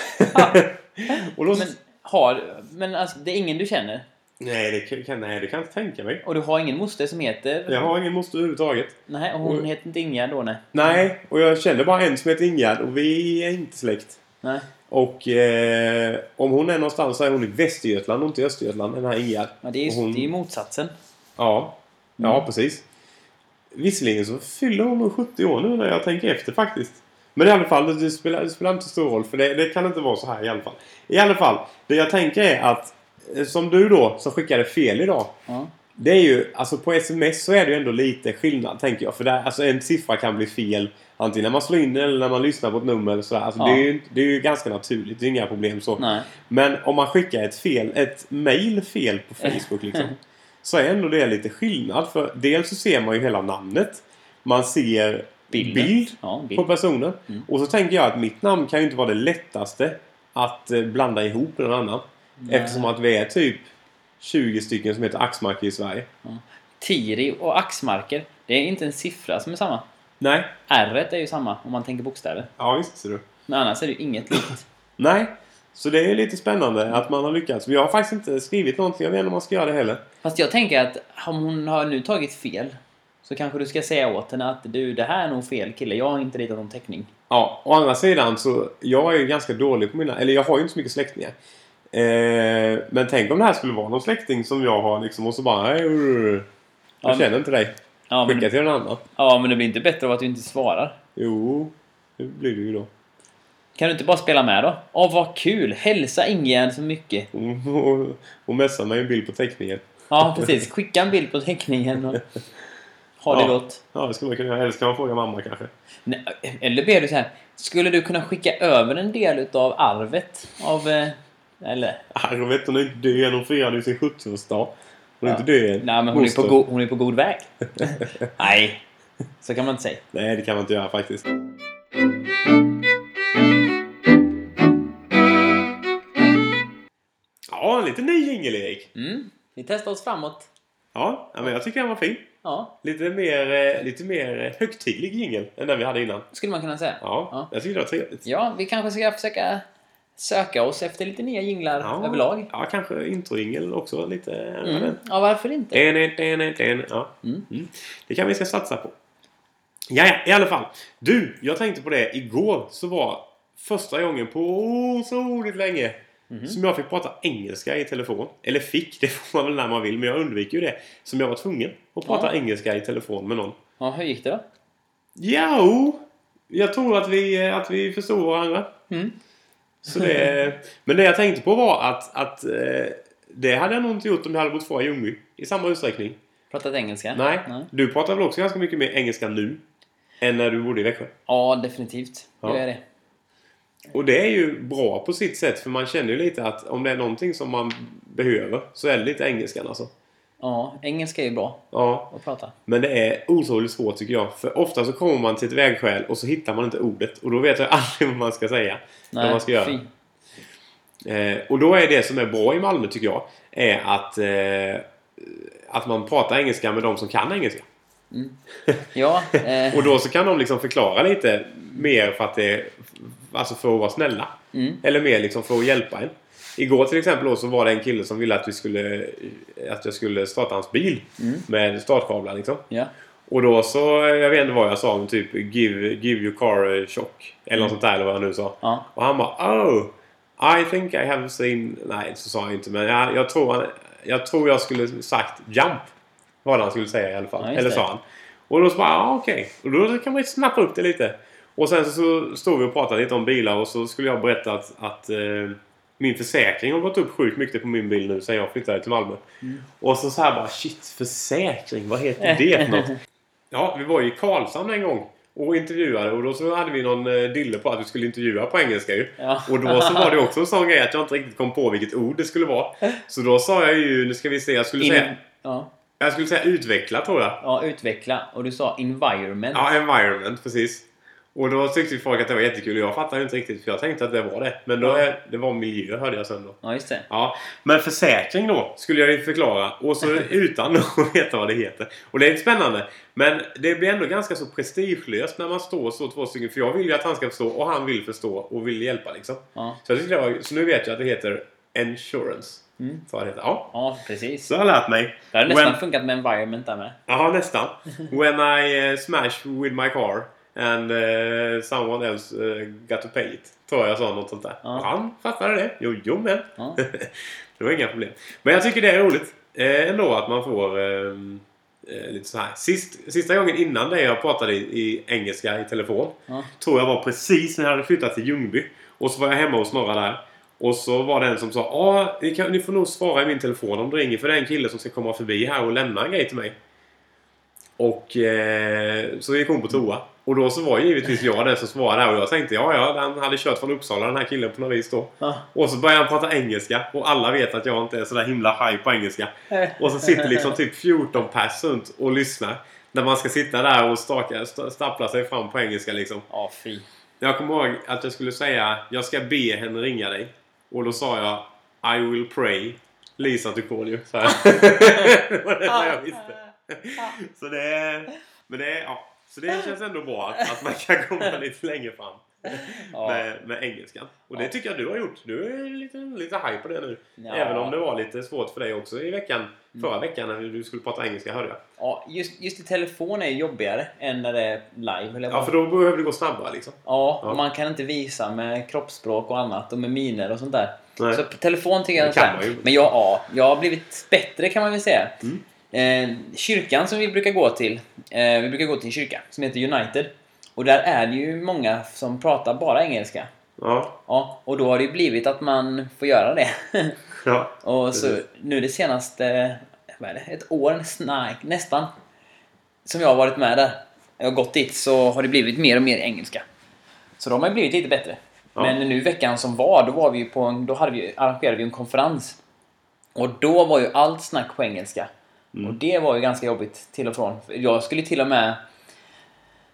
Speaker 2: och då,
Speaker 1: Men, har, men alltså, det är ingen du känner?
Speaker 2: nej, det kan- kan, nej, det kan jag inte tänka mig.
Speaker 1: Och du har ingen moster som heter...
Speaker 2: Jag har ingen moster överhuvudtaget.
Speaker 1: Nej, och hon
Speaker 2: Och-
Speaker 1: heter inte Inga då, nej.
Speaker 2: Nej, och jag känner bara en som heter Ingegärd och vi är inte släkt.
Speaker 1: Nej.
Speaker 2: Och eh, om hon är någonstans så är hon i Västergötland och inte i Östergötland, den här Ingegärd.
Speaker 1: Ja, det är ju
Speaker 2: Och hon-
Speaker 1: det är ju motsatsen.
Speaker 2: Ja, ja
Speaker 1: Mm.
Speaker 2: precis. Visserligen så fyller hon nog 70 år nu när jag tänker efter faktiskt. Men i alla fall, det spelar, det spelar inte så stor roll för det, det kan inte vara så här i alla fall. I alla fall, det jag tänker är att eh, som du då, som skickade fel idag.
Speaker 1: Ja.
Speaker 2: Det är ju, alltså på sms så är det ju ändå lite skillnad tänker jag. För där, alltså en siffra kan bli fel antingen när man slår in den eller när man lyssnar på ett nummer eller sådär. Alltså
Speaker 1: Ja.
Speaker 2: det, är ju, det är ju ganska naturligt, det är inga problem så.
Speaker 1: Nej.
Speaker 2: Men om man skickar ett fel, ett mail fel på Facebook liksom. Så är ändå det lite skillnad. För dels så ser man ju hela namnet. Man ser
Speaker 1: Bilden.
Speaker 2: bild
Speaker 1: Ja, bild. Mm.
Speaker 2: på personen. Och så tänker jag att mitt namn kan ju inte vara det lättaste att eh, blanda ihop med någon annan. Eftersom att vi är typ 20 stycken som heter Axmark i Sverige.
Speaker 1: Tiri och axmarker. Det är inte en siffra som är samma.
Speaker 2: Nej.
Speaker 1: r är ju samma om man tänker bokstäver.
Speaker 2: Ja, visst ser du.
Speaker 1: Men annars är det ju inget likt.
Speaker 2: Nej. Så det är ju lite spännande att man har lyckats. Men jag har faktiskt inte skrivit någonting. Jag vet inte om man ska göra det heller.
Speaker 1: Fast jag tänker att om hon har nu tagit fel så kanske du ska säga åt henne att du, det här är nog fel kille. Jag har inte ritat någon teckning.
Speaker 2: Ja, å andra sidan så jag är ju ganska dålig på mina... Eller jag har ju inte så mycket släktingar. Eh, men tänk om det här skulle vara någon släkting som jag har liksom och så bara... "Hej, urr,
Speaker 1: Ja,
Speaker 2: Jag känner inte dig.
Speaker 1: Ja
Speaker 2: Skicka
Speaker 1: men,
Speaker 2: till en annan.
Speaker 1: ja, men det blir inte bättre av att du inte svarar.
Speaker 2: Jo, det blir det ju då.
Speaker 1: Kan du inte bara spela med då? Åh, vad kul! Hälsa Ingegärd så mycket.
Speaker 2: Hon- hon- Hon messar mig en bild på teckningen.
Speaker 1: Ja, precis. Skicka en bild på teckningen och ha det
Speaker 2: Ja.
Speaker 1: gott.
Speaker 2: Ja, det skulle man kunna göra. Eller ska man fråga mamma kanske?
Speaker 1: Nej, Eller ber du så här. Skulle du kunna skicka över en del utav arvet av... eh, Eller?
Speaker 2: Arvet, hon är inte död. Hon firade ju sin 70-årsdag. Hon är
Speaker 1: Ja.
Speaker 2: inte död.
Speaker 1: Nej, men hon är, på
Speaker 2: Moster.
Speaker 1: go- hon är på god väg. Nej, så kan man inte säga.
Speaker 2: Nej, det kan man inte göra faktiskt. Ja, en liten ny jingel, Erik.
Speaker 1: Mm. Vi testar oss framåt.
Speaker 2: Ja, ja, men jag tycker den var fin.
Speaker 1: Ja,
Speaker 2: Lite mer, eh, lite mer eh, högtidlig jingel än den vi hade innan.
Speaker 1: skulle man kunna säga.
Speaker 2: Ja,
Speaker 1: Ja.
Speaker 2: jag tycker det var trevligt.
Speaker 1: Ja, vi kanske ska försöka söka oss efter lite nya jinglar
Speaker 2: Ja.
Speaker 1: överlag.
Speaker 2: Ja, kanske introjingel också lite.
Speaker 1: Mm. Ja, varför inte?
Speaker 2: En, en, en, en, en. Ja.
Speaker 1: Mm.
Speaker 2: Mm. Det kan vi ska satsa på. Ja, ja, i alla fall. Du, jag tänkte på det. Igår så var första gången på oh, så otroligt länge
Speaker 1: Mhm.
Speaker 2: som jag fick prata engelska i telefon. Eller fick, det får man väl när man vill, men jag undviker ju det. Som jag var tvungen att prata
Speaker 1: Ja.
Speaker 2: engelska i telefon med någon.
Speaker 1: Ja, hur gick det då?
Speaker 2: Jo, jag tror att vi, att vi förstod varandra.
Speaker 1: Mm.
Speaker 2: Så det, men det jag tänkte på var att, att eh, det hade jag nog inte gjort om jag hade bott kvar i Ljungby i samma utsträckning.
Speaker 1: Pratat engelska?
Speaker 2: Nej. Du pratar väl också ganska mycket mer engelska nu än när du bodde i Växjö?
Speaker 1: Ja, definitivt.
Speaker 2: Ja.
Speaker 1: Gör jag det.
Speaker 2: Och det är ju bra på sitt sätt för man känner ju lite att om det är någonting som man behöver så är det lite engelskan alltså.
Speaker 1: Ja, engelska är ju bra
Speaker 2: Ja,
Speaker 1: att prata.
Speaker 2: men det är otroligt svårt tycker jag. För ofta så kommer man till ett vägskäl och så hittar man inte ordet och då vet jag aldrig vad man ska säga. vad man ska göra.
Speaker 1: fy.
Speaker 2: Eh, och då är det som är bra i Malmö tycker jag är att, eh, att man pratar engelska med de som kan engelska.
Speaker 1: Ja, eh,
Speaker 2: Och då så kan de liksom förklara lite mer för att det alltså för att vara snälla.
Speaker 1: Mm.
Speaker 2: Eller mer liksom för att hjälpa en. Igår till exempel då så var det en kille som ville att, vi skulle, att jag skulle starta hans bil med startkablar liksom.
Speaker 1: ja.
Speaker 2: Och då så, jag vet inte vad jag sa om typ give, give your car a shock. Eller något sånt där eller vad han nu sa.
Speaker 1: Ja.
Speaker 2: Och han bara oh, I think I have seen... Nej, så sa han inte men jag, jag, tror, han, jag tror jag skulle sagt jump. Var det han skulle säga i alla fall.
Speaker 1: Ja, just
Speaker 2: eller
Speaker 1: det.
Speaker 2: sa han. Och då så bara, ah, okej. Och då kan man ju snappa upp det lite. Och sen så, så stod vi och pratade lite om bilar och så skulle jag berätta att, att eh, min försäkring har gått upp sjukt mycket på min bil nu sen jag flyttade till Malmö. Och så så här bara, shit, försäkring, vad heter det för något? Ja, vi var ju i Karlshamn en gång och intervjuade och då så hade vi någon eh, dille på att vi skulle intervjua på engelska ju.
Speaker 1: Ja.
Speaker 2: Och då så var det också en sån grej att jag inte riktigt kom på vilket ord det skulle vara. Så då sa jag ju, nu ska vi se, jag skulle, säga,
Speaker 1: In, ja,
Speaker 2: jag skulle säga utveckla tror jag.
Speaker 1: ja, utveckla. Och du sa environment.
Speaker 2: Ja, environment, precis. Och då tyckte folk att det var jättekul och jag fattade ju inte riktigt för jag tänkte att det var det. Men då, är- det var miljö hörde jag sen då.
Speaker 1: Ja, just det.
Speaker 2: Ja, men försäkring då skulle jag ju förklara och så utan att veta vad det heter. Och det är lite spännande. Men det blir ändå ganska så prestigelöst när man står så två stycken. För jag vill ju att han ska förstå och han vill förstå och vill hjälpa liksom.
Speaker 1: Ja,
Speaker 2: Så, jag tyckte det var, så nu vet jag att det heter insurance. Så det heter. Ja,
Speaker 1: ja precis.
Speaker 2: så har jag lärt mig.
Speaker 1: Mm. Det hade nästan
Speaker 2: When-
Speaker 1: funkat med environment där med.
Speaker 2: Ja, nästan. When I eh, smash with my car and eh, someone else eh, got to pay it. Tror jag sa något sånt där.
Speaker 1: Ja.
Speaker 2: Han fattade det. Jo, jo men.
Speaker 1: Ja.
Speaker 2: det var inga problem. Men jag tycker det är roligt eh, ändå att man får eh, eh, lite så här. Sist, sista gången innan det jag pratade i, i engelska i telefon
Speaker 1: Ja.
Speaker 2: tror jag var precis när jag hade flyttat till Ljungby. Och så var jag hemma hos några där. Och så var det en som sa ja, ni, kan- ni får nog svara i min telefon om det ringer för det är en kille som ska komma förbi här och lämna en grej till mig. Och eh, så gick hon på toa. Och då så var ju givetvis jag den som svarade där och jag tänkte ja, ja, han hade kört från Uppsala den här killen på något vis då.
Speaker 1: Ja.
Speaker 2: Och så börjar han prata engelska och alla vet att jag inte är sådär himla haj på engelska. Och så sitter liksom typ 14 pers runt och lyssnar. När man ska sitta där och staka, sta- stappla sig fram på engelska liksom.
Speaker 1: Ja, fy.
Speaker 2: Jag kommer ihåg att jag skulle säga jag ska be henne ringa dig. Och då sa jag I will pray Lisa Tukolio. Så här. det var det enda jag visste. Så det, men det, ja. så det känns ändå bra att, att man kan komma lite längre fram
Speaker 1: Ja.
Speaker 2: med, med engelskan. Och det
Speaker 1: Ja.
Speaker 2: tycker jag du har gjort. Du är lite, lite haj på det nu.
Speaker 1: Ja.
Speaker 2: Även om det var lite svårt för dig också i veckan. Förra veckan när du skulle prata engelska hörde jag.
Speaker 1: Ja, just, just i telefon är ju jobbigare än när det är live. Eller
Speaker 2: Ja, för då behöver det gå snabbare liksom.
Speaker 1: ja,
Speaker 2: Ja.
Speaker 1: och man kan inte visa med kroppsspråk och annat och med miner och sånt där.
Speaker 2: Nej.
Speaker 1: Så på telefon tycker jag
Speaker 2: Det
Speaker 1: så
Speaker 2: kan
Speaker 1: här.
Speaker 2: man ju.
Speaker 1: Men jag, ja, jag har blivit bättre kan man väl säga.
Speaker 2: Mm.
Speaker 1: Eh, kyrkan som vi brukar gå till, eh, vi brukar gå till en kyrka som heter United. Och där är det ju många som pratar bara engelska.
Speaker 2: Ja,
Speaker 1: Ja, och då har det ju blivit att man får göra det.
Speaker 2: ja.
Speaker 1: Och så
Speaker 2: Precis.
Speaker 1: nu det senaste, vad är det, ett år näst- nej, nästan, som jag har varit med där, jag har gått dit, så har det blivit mer och mer engelska. Så de har ju blivit lite bättre.
Speaker 2: Ja.
Speaker 1: Men nu veckan som var, då, var vi ju på en, då hade vi, arrangerade vi en konferens. Och då var ju allt snack på engelska.
Speaker 2: Mm.
Speaker 1: Och det var ju ganska jobbigt till och från. För Jag skulle till och med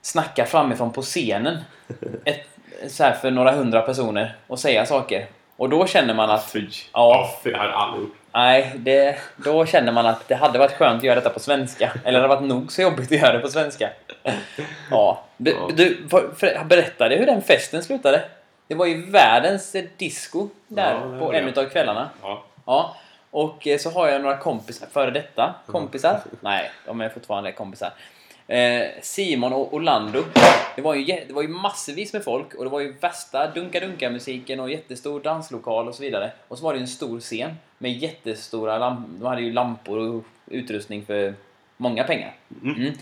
Speaker 1: snacka framifrån på scenen. Ett, så här för några hundra personer och säga saker. Och då känner man att
Speaker 2: Fy.
Speaker 1: Ja.
Speaker 2: fy. Jag hade aldrig gjort.
Speaker 1: Nej, det, då känner man att det hade varit skönt att göra detta på svenska. Eller det hade varit nog så jobbigt att göra det på svenska. Ja. Du,
Speaker 2: Ja.
Speaker 1: du, för- för- berättade hur den festen slutade? Det var ju världens eh, disco där
Speaker 2: Ja, det
Speaker 1: på
Speaker 2: var
Speaker 1: en
Speaker 2: det.
Speaker 1: utav kvällarna.
Speaker 2: Ja.
Speaker 1: Ja. Och eh, så har jag några kompisar, före detta kompisar. Nej, de är fortfarande kompisar. Eh, Simon och Orlando. Det var, ju, jä- det var ju massvis med folk och det var ju värsta dunka-dunka-musiken och jättestor danslokal och så vidare. Och så var det ju en stor scen med jättestora lampor. De hade ju lampor och utrustning för många pengar. Mm.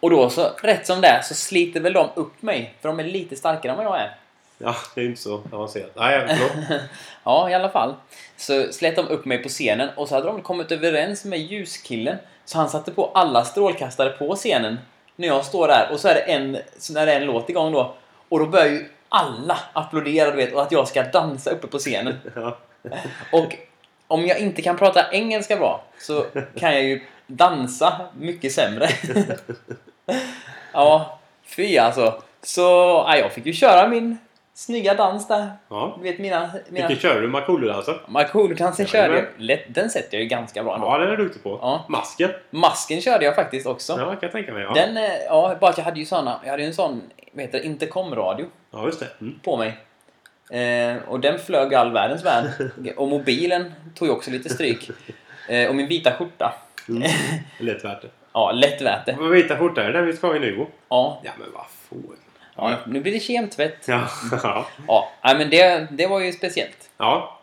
Speaker 1: Och då så, rätt som det är, så sliter väl de upp mig. För de är lite starkare än vad jag är.
Speaker 2: Ja, det är inte så avancerat. Nej, förlåt.
Speaker 1: Ja, i alla fall. Så slet de upp mig på scenen och så hade de kommit överens med ljuskillen. Så han satte på alla strålkastare på scenen. När jag står där och så är det en, så när det är en låt igång då. Och då börjar ju alla applådera du vet och att jag ska dansa uppe på scenen.
Speaker 2: Ja.
Speaker 1: Och om jag inte kan prata engelska bra så kan jag ju dansa mycket sämre. ja, fy alltså. Så ja, jag fick ju köra min snygga dans där.
Speaker 2: ja.
Speaker 1: Du vet mina... mina...
Speaker 2: Vilken kör du? Markoolio-dansen?
Speaker 1: Markoolio-dansen körde
Speaker 2: Jajamän.
Speaker 1: jag. Lätt, den sätter jag ju ganska bra ändå.
Speaker 2: Ja, den är du duktig på.
Speaker 1: Ja.
Speaker 2: Masken?
Speaker 1: Masken körde jag faktiskt också.
Speaker 2: Ja, kan jag tänka mig. Ja,
Speaker 1: Den, eh, ja, bara att jag hade ju såna, jag hade ju en sån, vad heter det, intercomradio
Speaker 2: ja just det. Mm.
Speaker 1: på mig. Eh, och den flög all världens värld. Och mobilen tog ju också lite stryk. Eh, och min vita skjorta.
Speaker 2: Mm. Lätt värt det.
Speaker 1: Ja, lätt värt det.
Speaker 2: Vad vita skjorta är det där vi ska ha i Nybro?
Speaker 1: Ja.
Speaker 2: Ja, men vad får
Speaker 1: ja, nu blir det kemtvätt.
Speaker 2: Ja. ja.
Speaker 1: Ja, nej, men det, det var ju speciellt.
Speaker 2: ja.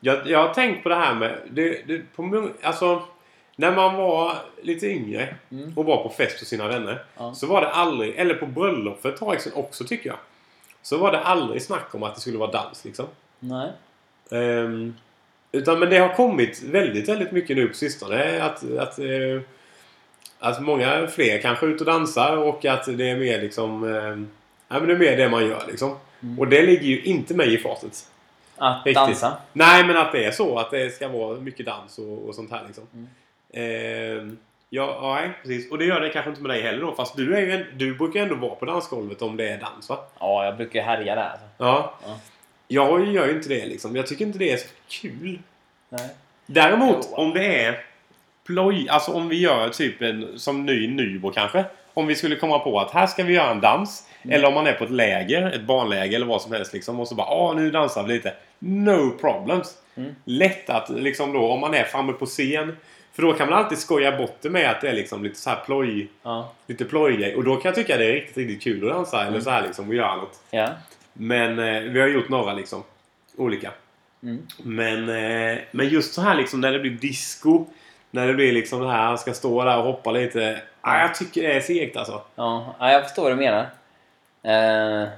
Speaker 2: Jag, jag har tänkt på det här med... Det, det, på, mång- alltså, när man var lite yngre och var på fest hos sina vänner
Speaker 1: Mm. Ja.
Speaker 2: så var det aldrig... Eller på bröllop för ett tag sedan också, tycker jag. Så var det aldrig snack om att det skulle vara dans, liksom.
Speaker 1: Nej.
Speaker 2: Ehm, utan men det har kommit väldigt, väldigt mycket nu på sistone. Att, att, eh, att många fler kanske är ute och dansar och att det är mer liksom... eh, ja, men det är mer det man gör liksom. Och det ligger ju inte mig i fatet.
Speaker 1: Mm. Att
Speaker 2: Riktigt.
Speaker 1: dansa.
Speaker 2: Nej, men att det är så. Att det ska vara mycket dans och, och sånt här liksom.
Speaker 1: Mm.
Speaker 2: Ehm, ja, ja, nej, precis. Och det gör det kanske inte med dig heller då. Fast du, är ju en, du brukar ju ändå vara på dansgolvet om det är dans va?
Speaker 1: Ja, jag brukar ju härja där. Alltså.
Speaker 2: Ja.
Speaker 1: Ja.
Speaker 2: Jag gör ju inte det liksom. Jag tycker inte det är så kul.
Speaker 1: Nej.
Speaker 2: Däremot
Speaker 1: Jo.
Speaker 2: om det är ploj, alltså om vi gör typ en som ny Nybro kanske. Om vi skulle komma på att här ska vi göra en dans.
Speaker 1: Mm.
Speaker 2: Eller om man är på ett läger, ett barnläger eller vad som helst liksom. Och så bara, ah nu dansar vi lite. No problems.
Speaker 1: Mm.
Speaker 2: Lätt att liksom då om man är framme på scen. För då kan man alltid skoja bort det med att det är liksom lite så här ploj,
Speaker 1: Ja.
Speaker 2: lite plojgrej. Och då kan jag tycka det är riktigt, riktigt kul att dansa
Speaker 1: Mm.
Speaker 2: eller så här liksom och göra något.
Speaker 1: Ja.
Speaker 2: Men eh, vi har gjort några liksom. Olika.
Speaker 1: Mm.
Speaker 2: Men, eh, men just så här liksom när det blir disco. När det blir liksom det här, han ska stå där och hoppa lite. Ah, jag tycker det är segt alltså.
Speaker 1: Ja, ja, jag förstår vad du menar. Eh,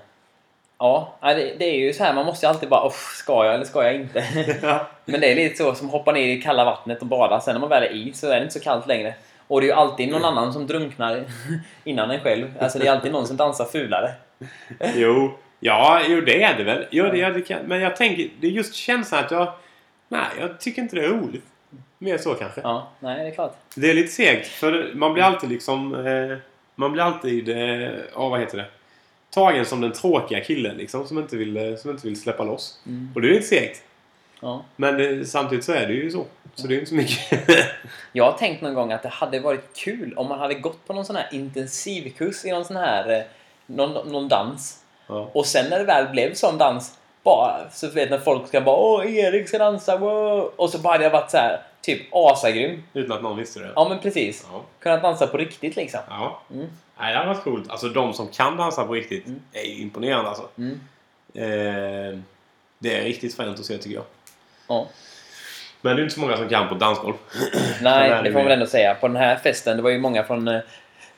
Speaker 1: ja, ja, det, det är ju så här, man måste ju alltid bara "Uff, ska jag eller ska jag inte?
Speaker 2: Ja.
Speaker 1: Men det är lite så som hoppar ner i kalla vattnet och badar. Sen när man väl är i så är det inte så kallt längre. Och det är ju alltid någon annan som drunknar innan en själv. Alltså det är alltid någon som dansar fulare.
Speaker 2: Jo, ja, jo det är det väl. Jo, det, ja, det kan, men jag tänker, det är just känslan att jag... Nej, jag tycker inte det är roligt. Mer så kanske.
Speaker 1: Ja, nej det är klart.
Speaker 2: Det är lite segt för man blir alltid liksom... Eh, man blir alltid... Eh, ja, vad heter det? Tagen som den tråkiga killen liksom som inte vill, eh, som inte vill släppa loss.
Speaker 1: Mm.
Speaker 2: Och det är lite segt.
Speaker 1: Ja.
Speaker 2: Men det, samtidigt så är det ju så. Så det är ju inte så mycket.
Speaker 1: Jag har tänkt någon gång att det hade varit kul om man hade gått på någon sån här intensivkurs i någon sån här, eh, någon, någon dans.
Speaker 2: ja.
Speaker 1: Och sen när det väl blev sån dans, bara, så vet när folk ska bara Åh, Erik ska dansa, wow! Och så bara hade jag varit så här, typ asagrym.
Speaker 2: Utan att någon visste det.
Speaker 1: Ja men precis.
Speaker 2: Ja.
Speaker 1: Kunnat dansa på riktigt liksom.
Speaker 2: ja.
Speaker 1: Mm.
Speaker 2: Nej, det hade varit coolt. Alltså de som kan dansa på riktigt
Speaker 1: Mm.
Speaker 2: är ju imponerande alltså.
Speaker 1: Mm.
Speaker 2: Eh, det är riktigt fränt att se tycker jag.
Speaker 1: Ja.
Speaker 2: Men det är inte så många som kan på dansgolv.
Speaker 1: Nej,
Speaker 2: där
Speaker 1: det
Speaker 2: är
Speaker 1: får man
Speaker 2: vi.
Speaker 1: väl ändå säga. På den här festen, det var ju många från eh,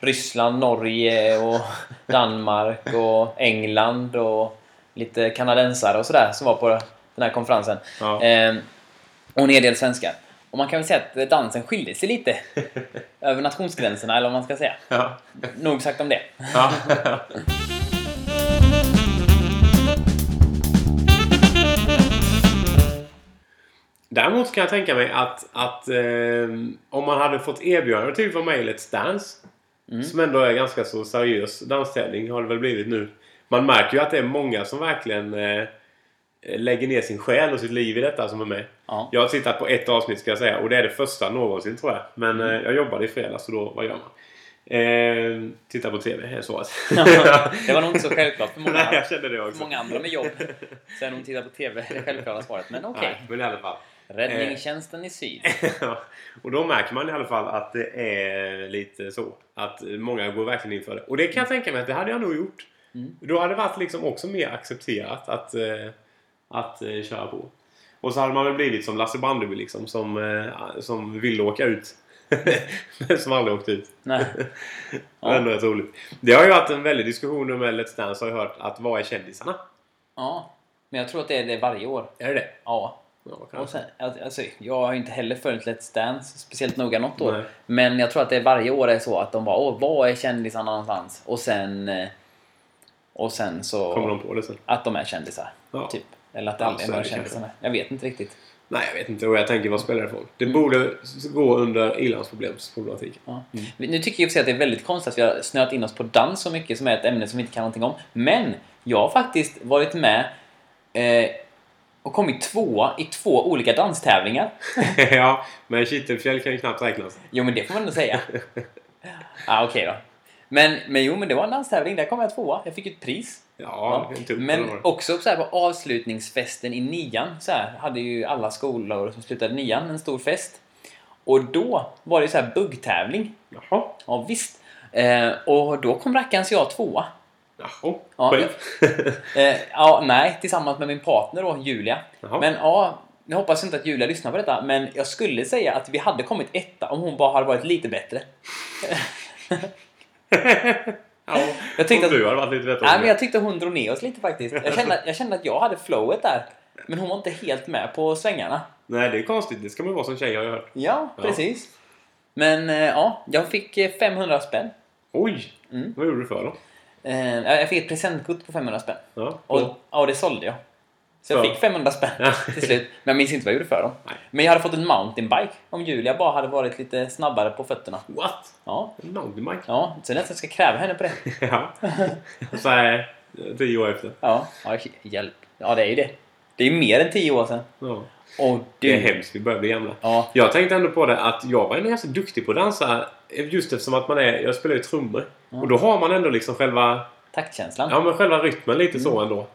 Speaker 1: Ryssland, Norge och Danmark och England och lite kanadensare och sådär som var på den här konferensen.
Speaker 2: Ja.
Speaker 1: Ehm, och en hel del svenskar. Och man kan väl säga att dansen skilde sig lite över nationsgränserna, eller vad man ska säga.
Speaker 2: Ja.
Speaker 1: Nog sagt om det.
Speaker 2: Ja. Däremot kan jag tänka mig att, att eh, om man hade fått erbjudande typ av mig Let's Dance som ändå är ganska så seriös danstävling har det väl blivit nu. Man märker ju att det är många som verkligen eh, lägger ner sin själ och sitt liv i detta som är med.
Speaker 1: Ja.
Speaker 2: Jag har
Speaker 1: Mm.
Speaker 2: tittat på ett avsnitt ska jag säga och det är det första någonsin tror jag. Men eh, jag jobbade i fredags och då, vad gör man? Eh, titta på TV är svaret.
Speaker 1: Det var nog inte så självklart för
Speaker 2: Nej,
Speaker 1: många,
Speaker 2: jag kände det
Speaker 1: för
Speaker 2: också.
Speaker 1: många andra med jobb. Sen de tittar på TV, det självklara svaret. Men okej.
Speaker 2: Nej, Eh. men i alla fall.
Speaker 1: Räddningstjänsten i syd.
Speaker 2: Ja, och då märker man i alla fall att det är lite så. Att många går verkligen in för det. Och det kan jag tänka mig att det hade jag nog gjort.
Speaker 1: Mm.
Speaker 2: Då hade det varit liksom också mer accepterat att, eh, att eh, köra på. Och så hade man väl blivit som Lasse Brandeby liksom som, eh, som ville åka ut. Men som aldrig åkte ut.
Speaker 1: Nej.
Speaker 2: Det är ändå rätt roligt. Det har ju varit en väldig diskussion om Let's Dance har jag hört att vad är kändisarna?
Speaker 1: Ja. Men jag tror att det är det varje år.
Speaker 2: Är det det?
Speaker 1: Ja.
Speaker 2: Ja,
Speaker 1: Och
Speaker 2: kanske.
Speaker 1: sen, alltså, jag har ju inte heller följt Let's Dance speciellt noga något år.
Speaker 2: Nej.
Speaker 1: Men jag tror att det varje år är så att de bara Åh, var är kändisarna någonstans? Och sen... eh, Och sen så...
Speaker 2: Kommer de på det sen?
Speaker 1: Att de är kändisar.
Speaker 2: Ja.
Speaker 1: Typ. Eller att det
Speaker 2: Ja,
Speaker 1: aldrig
Speaker 2: så
Speaker 1: är
Speaker 2: är
Speaker 1: några
Speaker 2: det
Speaker 1: kändisar med. Jag vet inte riktigt.
Speaker 2: Nej, jag vet inte. Och jag tänker, vad spelar det för roll? Det borde s- gå under ilandsproblemsproblematiken.
Speaker 1: Ja. Nu tycker jag i och för sig att det är väldigt konstigt att vi har snöat in oss på dans så mycket som är ett ämne som vi inte kan någonting om. Men jag har faktiskt varit med eh, och kommit tvåa i två olika danstävlingar.
Speaker 2: ja, men kittelfjäll kan ju knappt räknas.
Speaker 1: Jo men det får man ändå säga. ah, Okej då. Men, men jo men det var en danstävling, där kom jag tvåa. Jag fick ett pris.
Speaker 2: Ja, en tupp eller
Speaker 1: Men
Speaker 2: vad det var.
Speaker 1: också så här på avslutningsfesten i nian så här, hade ju alla skolor som slutade nian en stor fest. Och då var det så här buggtävling.
Speaker 2: Jaha.
Speaker 1: Ja, visst. Eh, och då kom rackarns jag tvåa.
Speaker 2: Jaha.
Speaker 1: Ja,
Speaker 2: Själv?
Speaker 1: Eh, ja, nej, tillsammans med min partner då, Julia.
Speaker 2: Jaha.
Speaker 1: Men ja, jag hoppas inte att Julia lyssnar på detta, men jag skulle säga att vi hade kommit etta om hon bara hade varit lite bättre.
Speaker 2: ja,
Speaker 1: Jag tänkte
Speaker 2: om
Speaker 1: att-
Speaker 2: du hade varit lite bättre.
Speaker 1: Nej, men jag tyckte hon drog ner oss lite faktiskt. Jag kände, att- jag kände att jag hade flowet där. Men hon var inte helt med på svängarna.
Speaker 2: Nej, det är konstigt. Det ska man ju vara som tjej har jag hört.
Speaker 1: Ja,
Speaker 2: Ja.
Speaker 1: precis. Men eh, ja, jag fick eh, 500 spänn.
Speaker 2: Oj!
Speaker 1: Mm.
Speaker 2: Vad gjorde du för dem?
Speaker 1: Eh, jag fick ett presentkort på 500 spänn.
Speaker 2: Ja.
Speaker 1: Och,
Speaker 2: ja.
Speaker 1: ja, och det sålde jag. Så jag
Speaker 2: Mm. Ja.
Speaker 1: fick 500 spänn
Speaker 2: Ja.
Speaker 1: till slut. Men jag minns inte vad jag gjorde för dem.
Speaker 2: Nej.
Speaker 1: Men jag hade fått en mountainbike om Julia bara hade varit lite snabbare på fötterna.
Speaker 2: What?
Speaker 1: Ja,
Speaker 2: En mountainbike?
Speaker 1: ja. så nästan ska kräva henne på det.
Speaker 2: Ja. så här, eh, tio år efter.
Speaker 1: Ja, ja hjälp. Ja, det är ju det. Det är ju mer än 10 år sedan.
Speaker 2: Ja.
Speaker 1: Och
Speaker 2: Det är
Speaker 1: du.
Speaker 2: hemskt. Vi börjar bli gamla.
Speaker 1: Ja,
Speaker 2: Jag tänkte ändå på det att jag var ändå ganska duktig på att dansa. Just eftersom att man är... Jag spelar ju trummor. Och då har man ändå liksom själva...
Speaker 1: taktkänslan.
Speaker 2: Ja, men själva rytmen lite
Speaker 1: Mm.
Speaker 2: så ändå.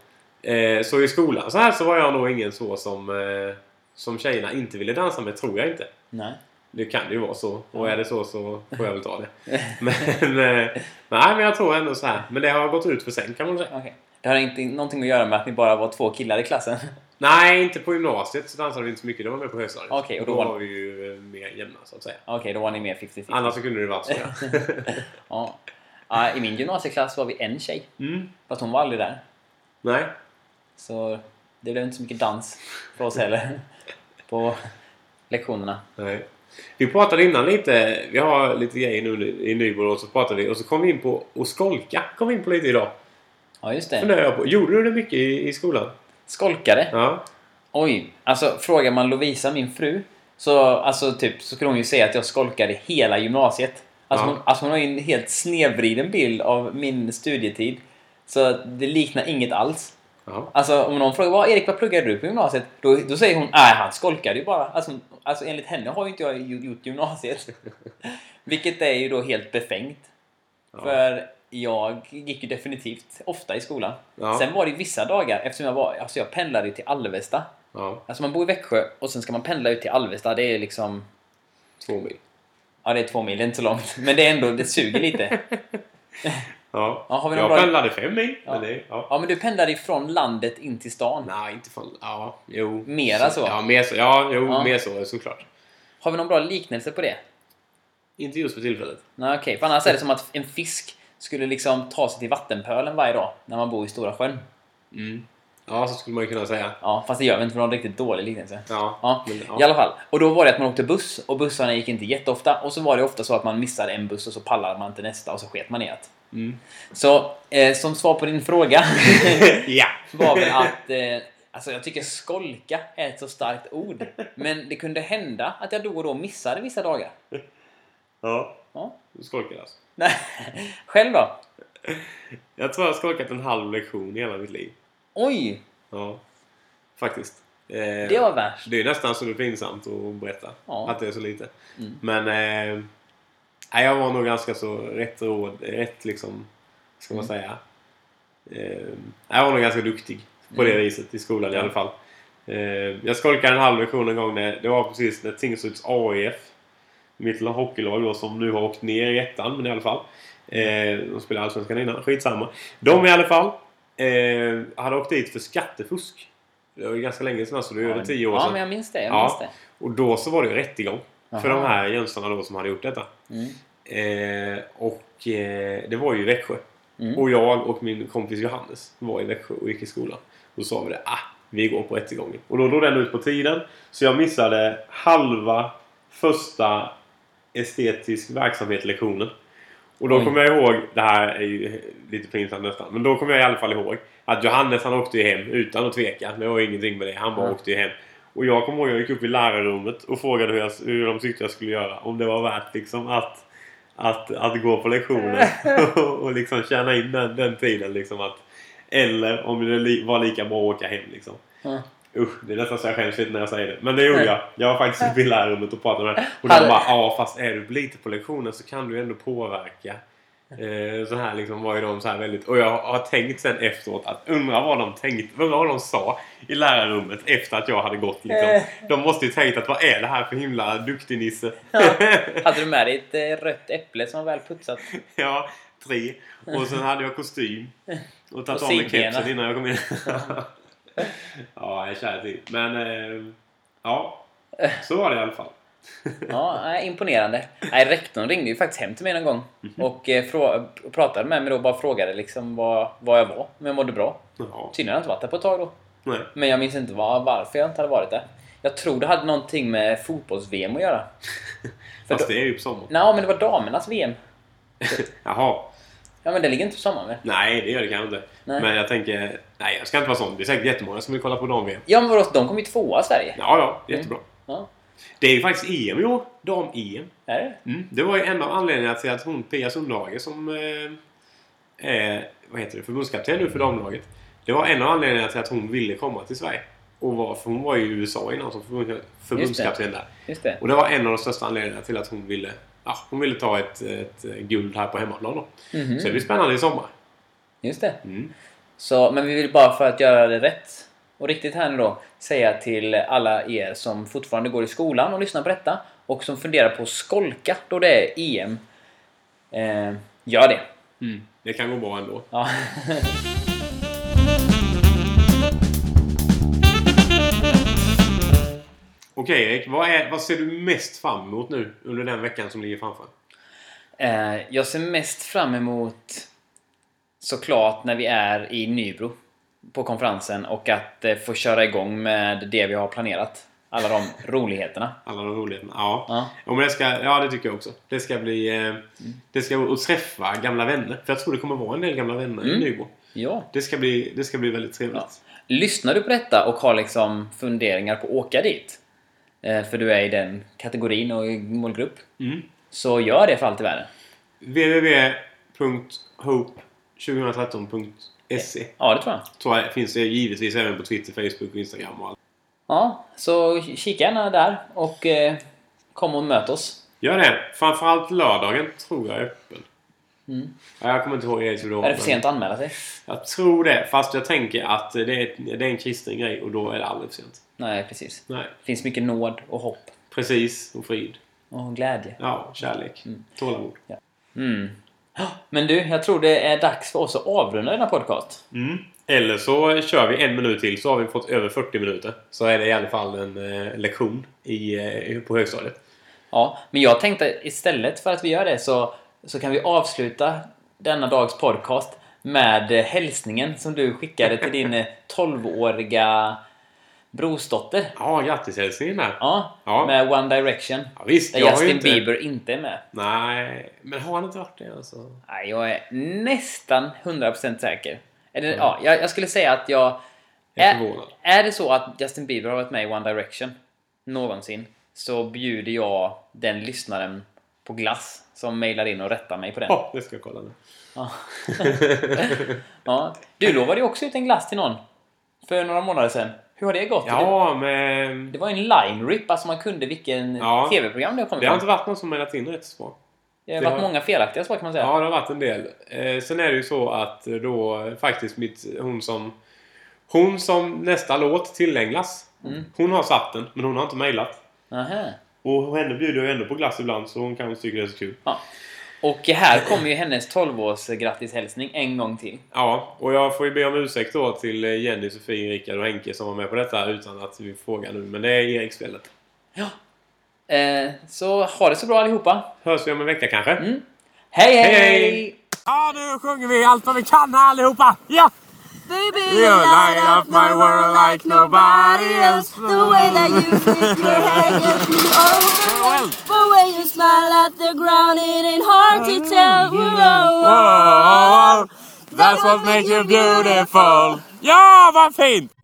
Speaker 2: Eh, så i skolan så här så var jag nog ingen så som, eh, som tjejerna inte ville dansa med, tror jag inte.
Speaker 1: Nej.
Speaker 2: Det kan ju vara så. Och är det så så får jag väl ta det. Men, eh, nej, men jag tror ändå så här. Men det har gått ut för sen kan man säga.
Speaker 1: Okej. Det har inte någonting att göra med att ni bara var två killar i klassen.
Speaker 2: Nej, inte på gymnasiet så dansade vi inte så mycket. Det var mer på högstadiet.
Speaker 1: Okej, och då
Speaker 2: var
Speaker 1: var-
Speaker 2: vi ju eh, mer jämna så att säga.
Speaker 1: Okej, då var ni mer 50-50.
Speaker 2: Annars så kunde det varit så. Ja.
Speaker 1: Ja. Ja, I min gymnasieklass var vi en tjej.
Speaker 2: Mm.
Speaker 1: Fast hon var aldrig där.
Speaker 2: Nej.
Speaker 1: Så det blev inte så mycket dans för oss heller på lektionerna.
Speaker 2: Nej. Vi pratade innan lite, vi har lite grejer nu i Nybro och så pratade vi och så kom vi in på att skolka. Kom vi in på lite idag.
Speaker 1: Ja, just det.
Speaker 2: funderar jag på. Gjorde du det mycket i, i skolan?
Speaker 1: Skolkade.
Speaker 2: Ja.
Speaker 1: Oj, alltså frågar man Lovisa, min fru, så, alltså, typ, så skulle hon ju säga att jag skolkade hela gymnasiet. Alltså,
Speaker 2: Ja.
Speaker 1: hon, alltså hon har ju en helt snedvriden bild av min studietid. Så det liknar inget alls.
Speaker 2: ja.
Speaker 1: Alltså om någon frågar vad Erik vad pluggade du på gymnasiet? Då, då säger hon nej han skolkade ju bara. Alltså, hon- alltså enligt henne har ju inte jag gj- gjort gymnasiet. Vilket är ju då helt befängt.
Speaker 2: Ja.
Speaker 1: För jag gick ju definitivt ofta i skolan.
Speaker 2: Ja.
Speaker 1: Sen var det ju vissa dagar eftersom jag var, alltså jag pendlade ju till Alvesta.
Speaker 2: ja.
Speaker 1: Alltså man bor i Växjö och sen ska man pendla ut till Alvesta. Det är liksom,
Speaker 2: Två mil.
Speaker 1: ja det är två mil, det är inte så långt. Men det är ändå, det suger lite.
Speaker 2: Ja.
Speaker 1: Ja, har vi någon
Speaker 2: jag
Speaker 1: bra-
Speaker 2: pendlade fem mil.
Speaker 1: Ja.
Speaker 2: Men det, ja.
Speaker 1: Ja men du pendlade ifrån landet in till stan.
Speaker 2: Nej, inte fan. Ja, jo.
Speaker 1: Mera så.
Speaker 2: Ja, mer så. Ja, jo,
Speaker 1: Ja.
Speaker 2: mer så såklart.
Speaker 1: Har vi någon bra liknelse på det?
Speaker 2: Inte just för tillfället.
Speaker 1: Nej, okej. För annars är det som att en fisk skulle liksom ta sig till vattenpölen varje dag när man bor i Stora sjön.
Speaker 2: Ja, så skulle man ju kunna säga.
Speaker 1: Ja, fast det gör vi inte för någon riktigt dålig liknelse.
Speaker 2: Ja.
Speaker 1: Ja,
Speaker 2: Men,
Speaker 1: i
Speaker 2: ja.
Speaker 1: alla fall. Och då var det att man åkte buss och bussarna gick inte jätteofta. Och så var det ofta så att man missade en buss och så pallade man inte nästa och så sket man i att.
Speaker 2: Mm.
Speaker 1: Så eh, som svar på din fråga
Speaker 2: ja.
Speaker 1: var väl att eh, Alltså jag tycker skolka är ett så starkt ord. Men det kunde hända att jag då och då missade vissa dagar.
Speaker 2: Ja.
Speaker 1: Ja.
Speaker 2: Du skolkade alltså.
Speaker 1: Nej. Själv då?
Speaker 2: Jag tror jag har skolkat en halv lektion i hela mitt liv.
Speaker 1: Oj!
Speaker 2: Ja. Faktiskt. Eh,
Speaker 1: Det var värst.
Speaker 2: Det är nästan så det är pinsamt att berätta
Speaker 1: Ja.
Speaker 2: att det är så lite. Men eh, Nej, jag var nog ganska så rätt råd, rätt liksom, ska
Speaker 1: Mm.
Speaker 2: man säga. Eh, jag var nog ganska duktig på
Speaker 1: Mm.
Speaker 2: det viset i skolan i alla fall. Eh, jag skolkade en halv lektion en gång när det var precis när Tingsryds AIF, mitt hockeylag då som nu har åkt ner i ettan, men i alla fall. Eh, de spelade Allsvenskan innan, skitsamma. De i alla fall eh, hade åkt dit för skattefusk. Det var ju ganska länge sedan, alltså det är över tio år
Speaker 1: Ja,
Speaker 2: sedan.
Speaker 1: men jag minns det. Jag
Speaker 2: Ja.
Speaker 1: minns det.
Speaker 2: Och då så var det ju rättegång för
Speaker 1: Jaha.
Speaker 2: de här jönsarna då som hade gjort detta.
Speaker 1: Mm.
Speaker 2: Eh, och eh, det var ju i Växjö.
Speaker 1: Mm.
Speaker 2: Och jag och min kompis Johannes var i Växjö och gick i skolan. Då sa vi det, ah, vi går på rättegången. Och då drog den ut på tiden. Så jag missade halva första estetisk verksamhet-lektionen. Och då
Speaker 1: Oj.
Speaker 2: kommer jag ihåg, det här är ju lite pinsamt nästan, men då kommer jag i alla fall ihåg att Johannes han åkte ju hem utan att tveka. Det var ju ingenting med det. Han bara
Speaker 1: Ja.
Speaker 2: åkte ju hem. Och jag kommer ihåg jag gick upp i lärarrummet och frågade hur, jag, hur de tyckte jag skulle göra. Om det var värt liksom att, att, att gå på lektionen och liksom tjäna in den, den tiden. Liksom att, eller om det li- var lika bra att åka hem liksom.
Speaker 1: Ja.
Speaker 2: Usch, det är nästan så jag skäms lite när jag säger det. Men det gjorde jag. Jag var faktiskt uppe i lärarrummet och pratade med dem. Och de
Speaker 1: Hade-
Speaker 2: bara, ja fast är du lite på lektionen så kan du ju ändå påverka. Eh, så här liksom var ju de så här väldigt... Och jag har tänkt sen efteråt att undra vad de tänkte, undra vad de sa i lärarrummet efter att jag hade gått liksom.
Speaker 1: Eh.
Speaker 2: De måste ju tänkt att vad är det här för himla duktig nisse?
Speaker 1: Hade du med dig ett eh, rött äpple som var väl putsat?
Speaker 2: ja, tre. Och sen hade jag kostym. Och tagit
Speaker 1: Och
Speaker 2: av mig
Speaker 1: simgena.
Speaker 2: kepsen innan jag kom in. ja, jag är kär till. Men eh, ja, så var det i alla fall.
Speaker 1: Ja, nej, imponerande. Nej, rektorn ringde ju faktiskt hem till mig någon gång
Speaker 2: Mhm.
Speaker 1: och eh, frå- och pratade med mig då och bara frågade liksom vad, vad jag var, om jag mådde bra.
Speaker 2: Ja,
Speaker 1: Tydligen har jag inte varit där på ett tag då.
Speaker 2: nej.
Speaker 1: Men jag minns inte var, varför jag inte hade varit där. Jag tror det hade någonting med fotbolls-VM att göra. För
Speaker 2: Fast
Speaker 1: då-
Speaker 2: det är ju på sommaren.
Speaker 1: Nej, men det var damernas VM.
Speaker 2: Jaha.
Speaker 1: Ja, men det ligger inte på sommaren väl?
Speaker 2: Nej, det gör det kanske inte.
Speaker 1: Nej.
Speaker 2: Men jag tänker, nej jag ska inte vara sån. Det är säkert jättemånga som vill kolla på dam-VM.
Speaker 1: Ja, men vadå, de kom ju tvåa Sverige.
Speaker 2: Ja,
Speaker 1: Mm.
Speaker 2: ja, jättebra.
Speaker 1: Ja,
Speaker 2: Det är ju faktiskt EM i år. Dam-EM.
Speaker 1: är det?
Speaker 2: Mm. Det var ju en av anledningarna till att hon, Pia Sundhage, som eh, är vad heter det, förbundskapten nu för damlaget. Det var en av anledningarna till att hon ville komma till Sverige. Och var, för hon var ju i USA innan som förbund- förbundskapten där.
Speaker 1: Just det.
Speaker 2: Och det var en av de största anledningarna till att hon ville, ja, hon ville ta ett, ett guld här på hemmaplan då.
Speaker 1: Mhm.
Speaker 2: Så det blir spännande i sommar.
Speaker 1: Just det.
Speaker 2: Mm.
Speaker 1: Så, men vi vill bara för att göra det rätt och riktigt här nu då säga till alla er som fortfarande går i skolan och lyssnar på detta och som funderar på att skolka då det är EM. Eh, gör det!
Speaker 2: Det kan gå bra ändå.
Speaker 1: Ja.
Speaker 2: Okej Erik, vad, är, vad ser du mest fram emot nu under den veckan som ligger framför?
Speaker 1: Eh, jag ser mest fram emot såklart när vi är i Nybro på konferensen och att eh, få köra igång med det vi har planerat. Alla de roligheterna.
Speaker 2: Alla de roligheterna. Ja.
Speaker 1: Ja.
Speaker 2: Ja, men det ska, ja, det tycker jag också. Det ska bli... Eh, det ska och träffa gamla vänner. För jag tror det kommer vara en del gamla vänner
Speaker 1: Mm.
Speaker 2: i Nybro.
Speaker 1: Ja.
Speaker 2: Det ska bli, det ska bli väldigt trevligt.
Speaker 1: Ja. Lyssnar du på detta och har liksom funderingar på att åka dit? eh, För du är i den kategorin och i målgrupp.
Speaker 2: Mm.
Speaker 1: Så gör det för allt i världen.
Speaker 2: www.hope2013.se
Speaker 1: Ja, det tror jag.
Speaker 2: tror jag finns det givetvis även på Twitter, Facebook och Instagram och allt.
Speaker 1: Ja, så kika gärna där och eh, kom och möt oss.
Speaker 2: Gör det! Framförallt lördagen tror jag är öppen. Ja, jag kommer inte ihåg det.
Speaker 1: Mm. Är det för sent att anmäla sig?
Speaker 2: Jag tror det. Fast jag tänker att det är, det är en kristen grej och då är det aldrig för sent.
Speaker 1: Nej, precis.
Speaker 2: Nej.
Speaker 1: Det finns mycket nåd och hopp
Speaker 2: Precis. Och frid.
Speaker 1: och glädje.
Speaker 2: Ja, kärlek. Tålamod.
Speaker 1: Mm. Ja, Men du, jag tror det är dags för oss att avrunda denna podcast.
Speaker 2: Mm. Eller så kör vi en minut till så har vi fått över 40 minuter. Så är det i alla fall en eh, lektion i, eh, på högstadiet.
Speaker 1: Ja, men jag tänkte istället för att vi gör det så, så kan vi avsluta denna dags podcast med eh, hälsningen som du skickade till din eh, 12-åriga brorsdotter.
Speaker 2: Ja, grattishälsningen där.
Speaker 1: Ja,
Speaker 2: Ja.
Speaker 1: med One Direction.
Speaker 2: Ja, visst,
Speaker 1: Där
Speaker 2: jag har ju
Speaker 1: Justin
Speaker 2: inte...
Speaker 1: Bieber inte är med.
Speaker 2: Nej, men har han inte varit det alltså?
Speaker 1: Nej, jag är nästan 100% säker. Eller, ja, jag, jag skulle säga att jag...
Speaker 2: Mm. Jag är
Speaker 1: är,
Speaker 2: förvånad.
Speaker 1: är det så att Justin Bieber har varit med i One Direction någonsin så bjuder jag den lyssnaren på glass som mejlar in och rättar mig på den.
Speaker 2: Ja, det ska jag kolla nu.
Speaker 1: Ja. ja. Du lovade ju också ut en glass till någon för några månader sedan. Hur har det gått? Det,
Speaker 2: Ja, men...
Speaker 1: det var ju en line rip, alltså man kunde vilken
Speaker 2: Ja.
Speaker 1: tv-program det kom
Speaker 2: Det
Speaker 1: ifrån.
Speaker 2: har inte varit någon som mejlat in rätt så bra.
Speaker 1: Det har
Speaker 2: Det
Speaker 1: varit
Speaker 2: har-
Speaker 1: många felaktiga svar kan man säga.
Speaker 2: Ja, det har varit en del. Eh, sen är det ju så att då eh, faktiskt mitt, hon som hon som nästa låt tillägnas.
Speaker 1: Mm.
Speaker 2: Hon har satt den, men hon har inte mejlat.
Speaker 1: Aha.
Speaker 2: Och henne bjuder jag ju ändå på glass ibland så hon kanske tycker det är så kul.
Speaker 1: Ja. Och här kommer ju hennes 12-års grattishälsning en gång till.
Speaker 2: Ja, och jag får ju be om ursäkt då till eh, Jenny, Sofie, Rickard och Henke som var med på detta utan att vi frågar nu. Men det är Erikskvällen.
Speaker 1: Ja. Eh, så ha det så bra allihopa.
Speaker 2: Hörs vi om en vecka kanske?
Speaker 1: hej!
Speaker 2: Hej,
Speaker 1: hej.
Speaker 2: hej.
Speaker 1: hej.
Speaker 3: Ja, nu sjunger vi allt vad vi kan här allihopa! Ja!
Speaker 4: Baby,
Speaker 3: You
Speaker 4: you light
Speaker 3: light
Speaker 4: up my world like nobody else. The way that you flip your hair gets me
Speaker 3: Well.
Speaker 4: over. The way you smile at the ground, it ain't hard to tell. oh, Whoa, whoa. oh.
Speaker 3: Oh, that's what makes you beautiful! Ja, vad fint!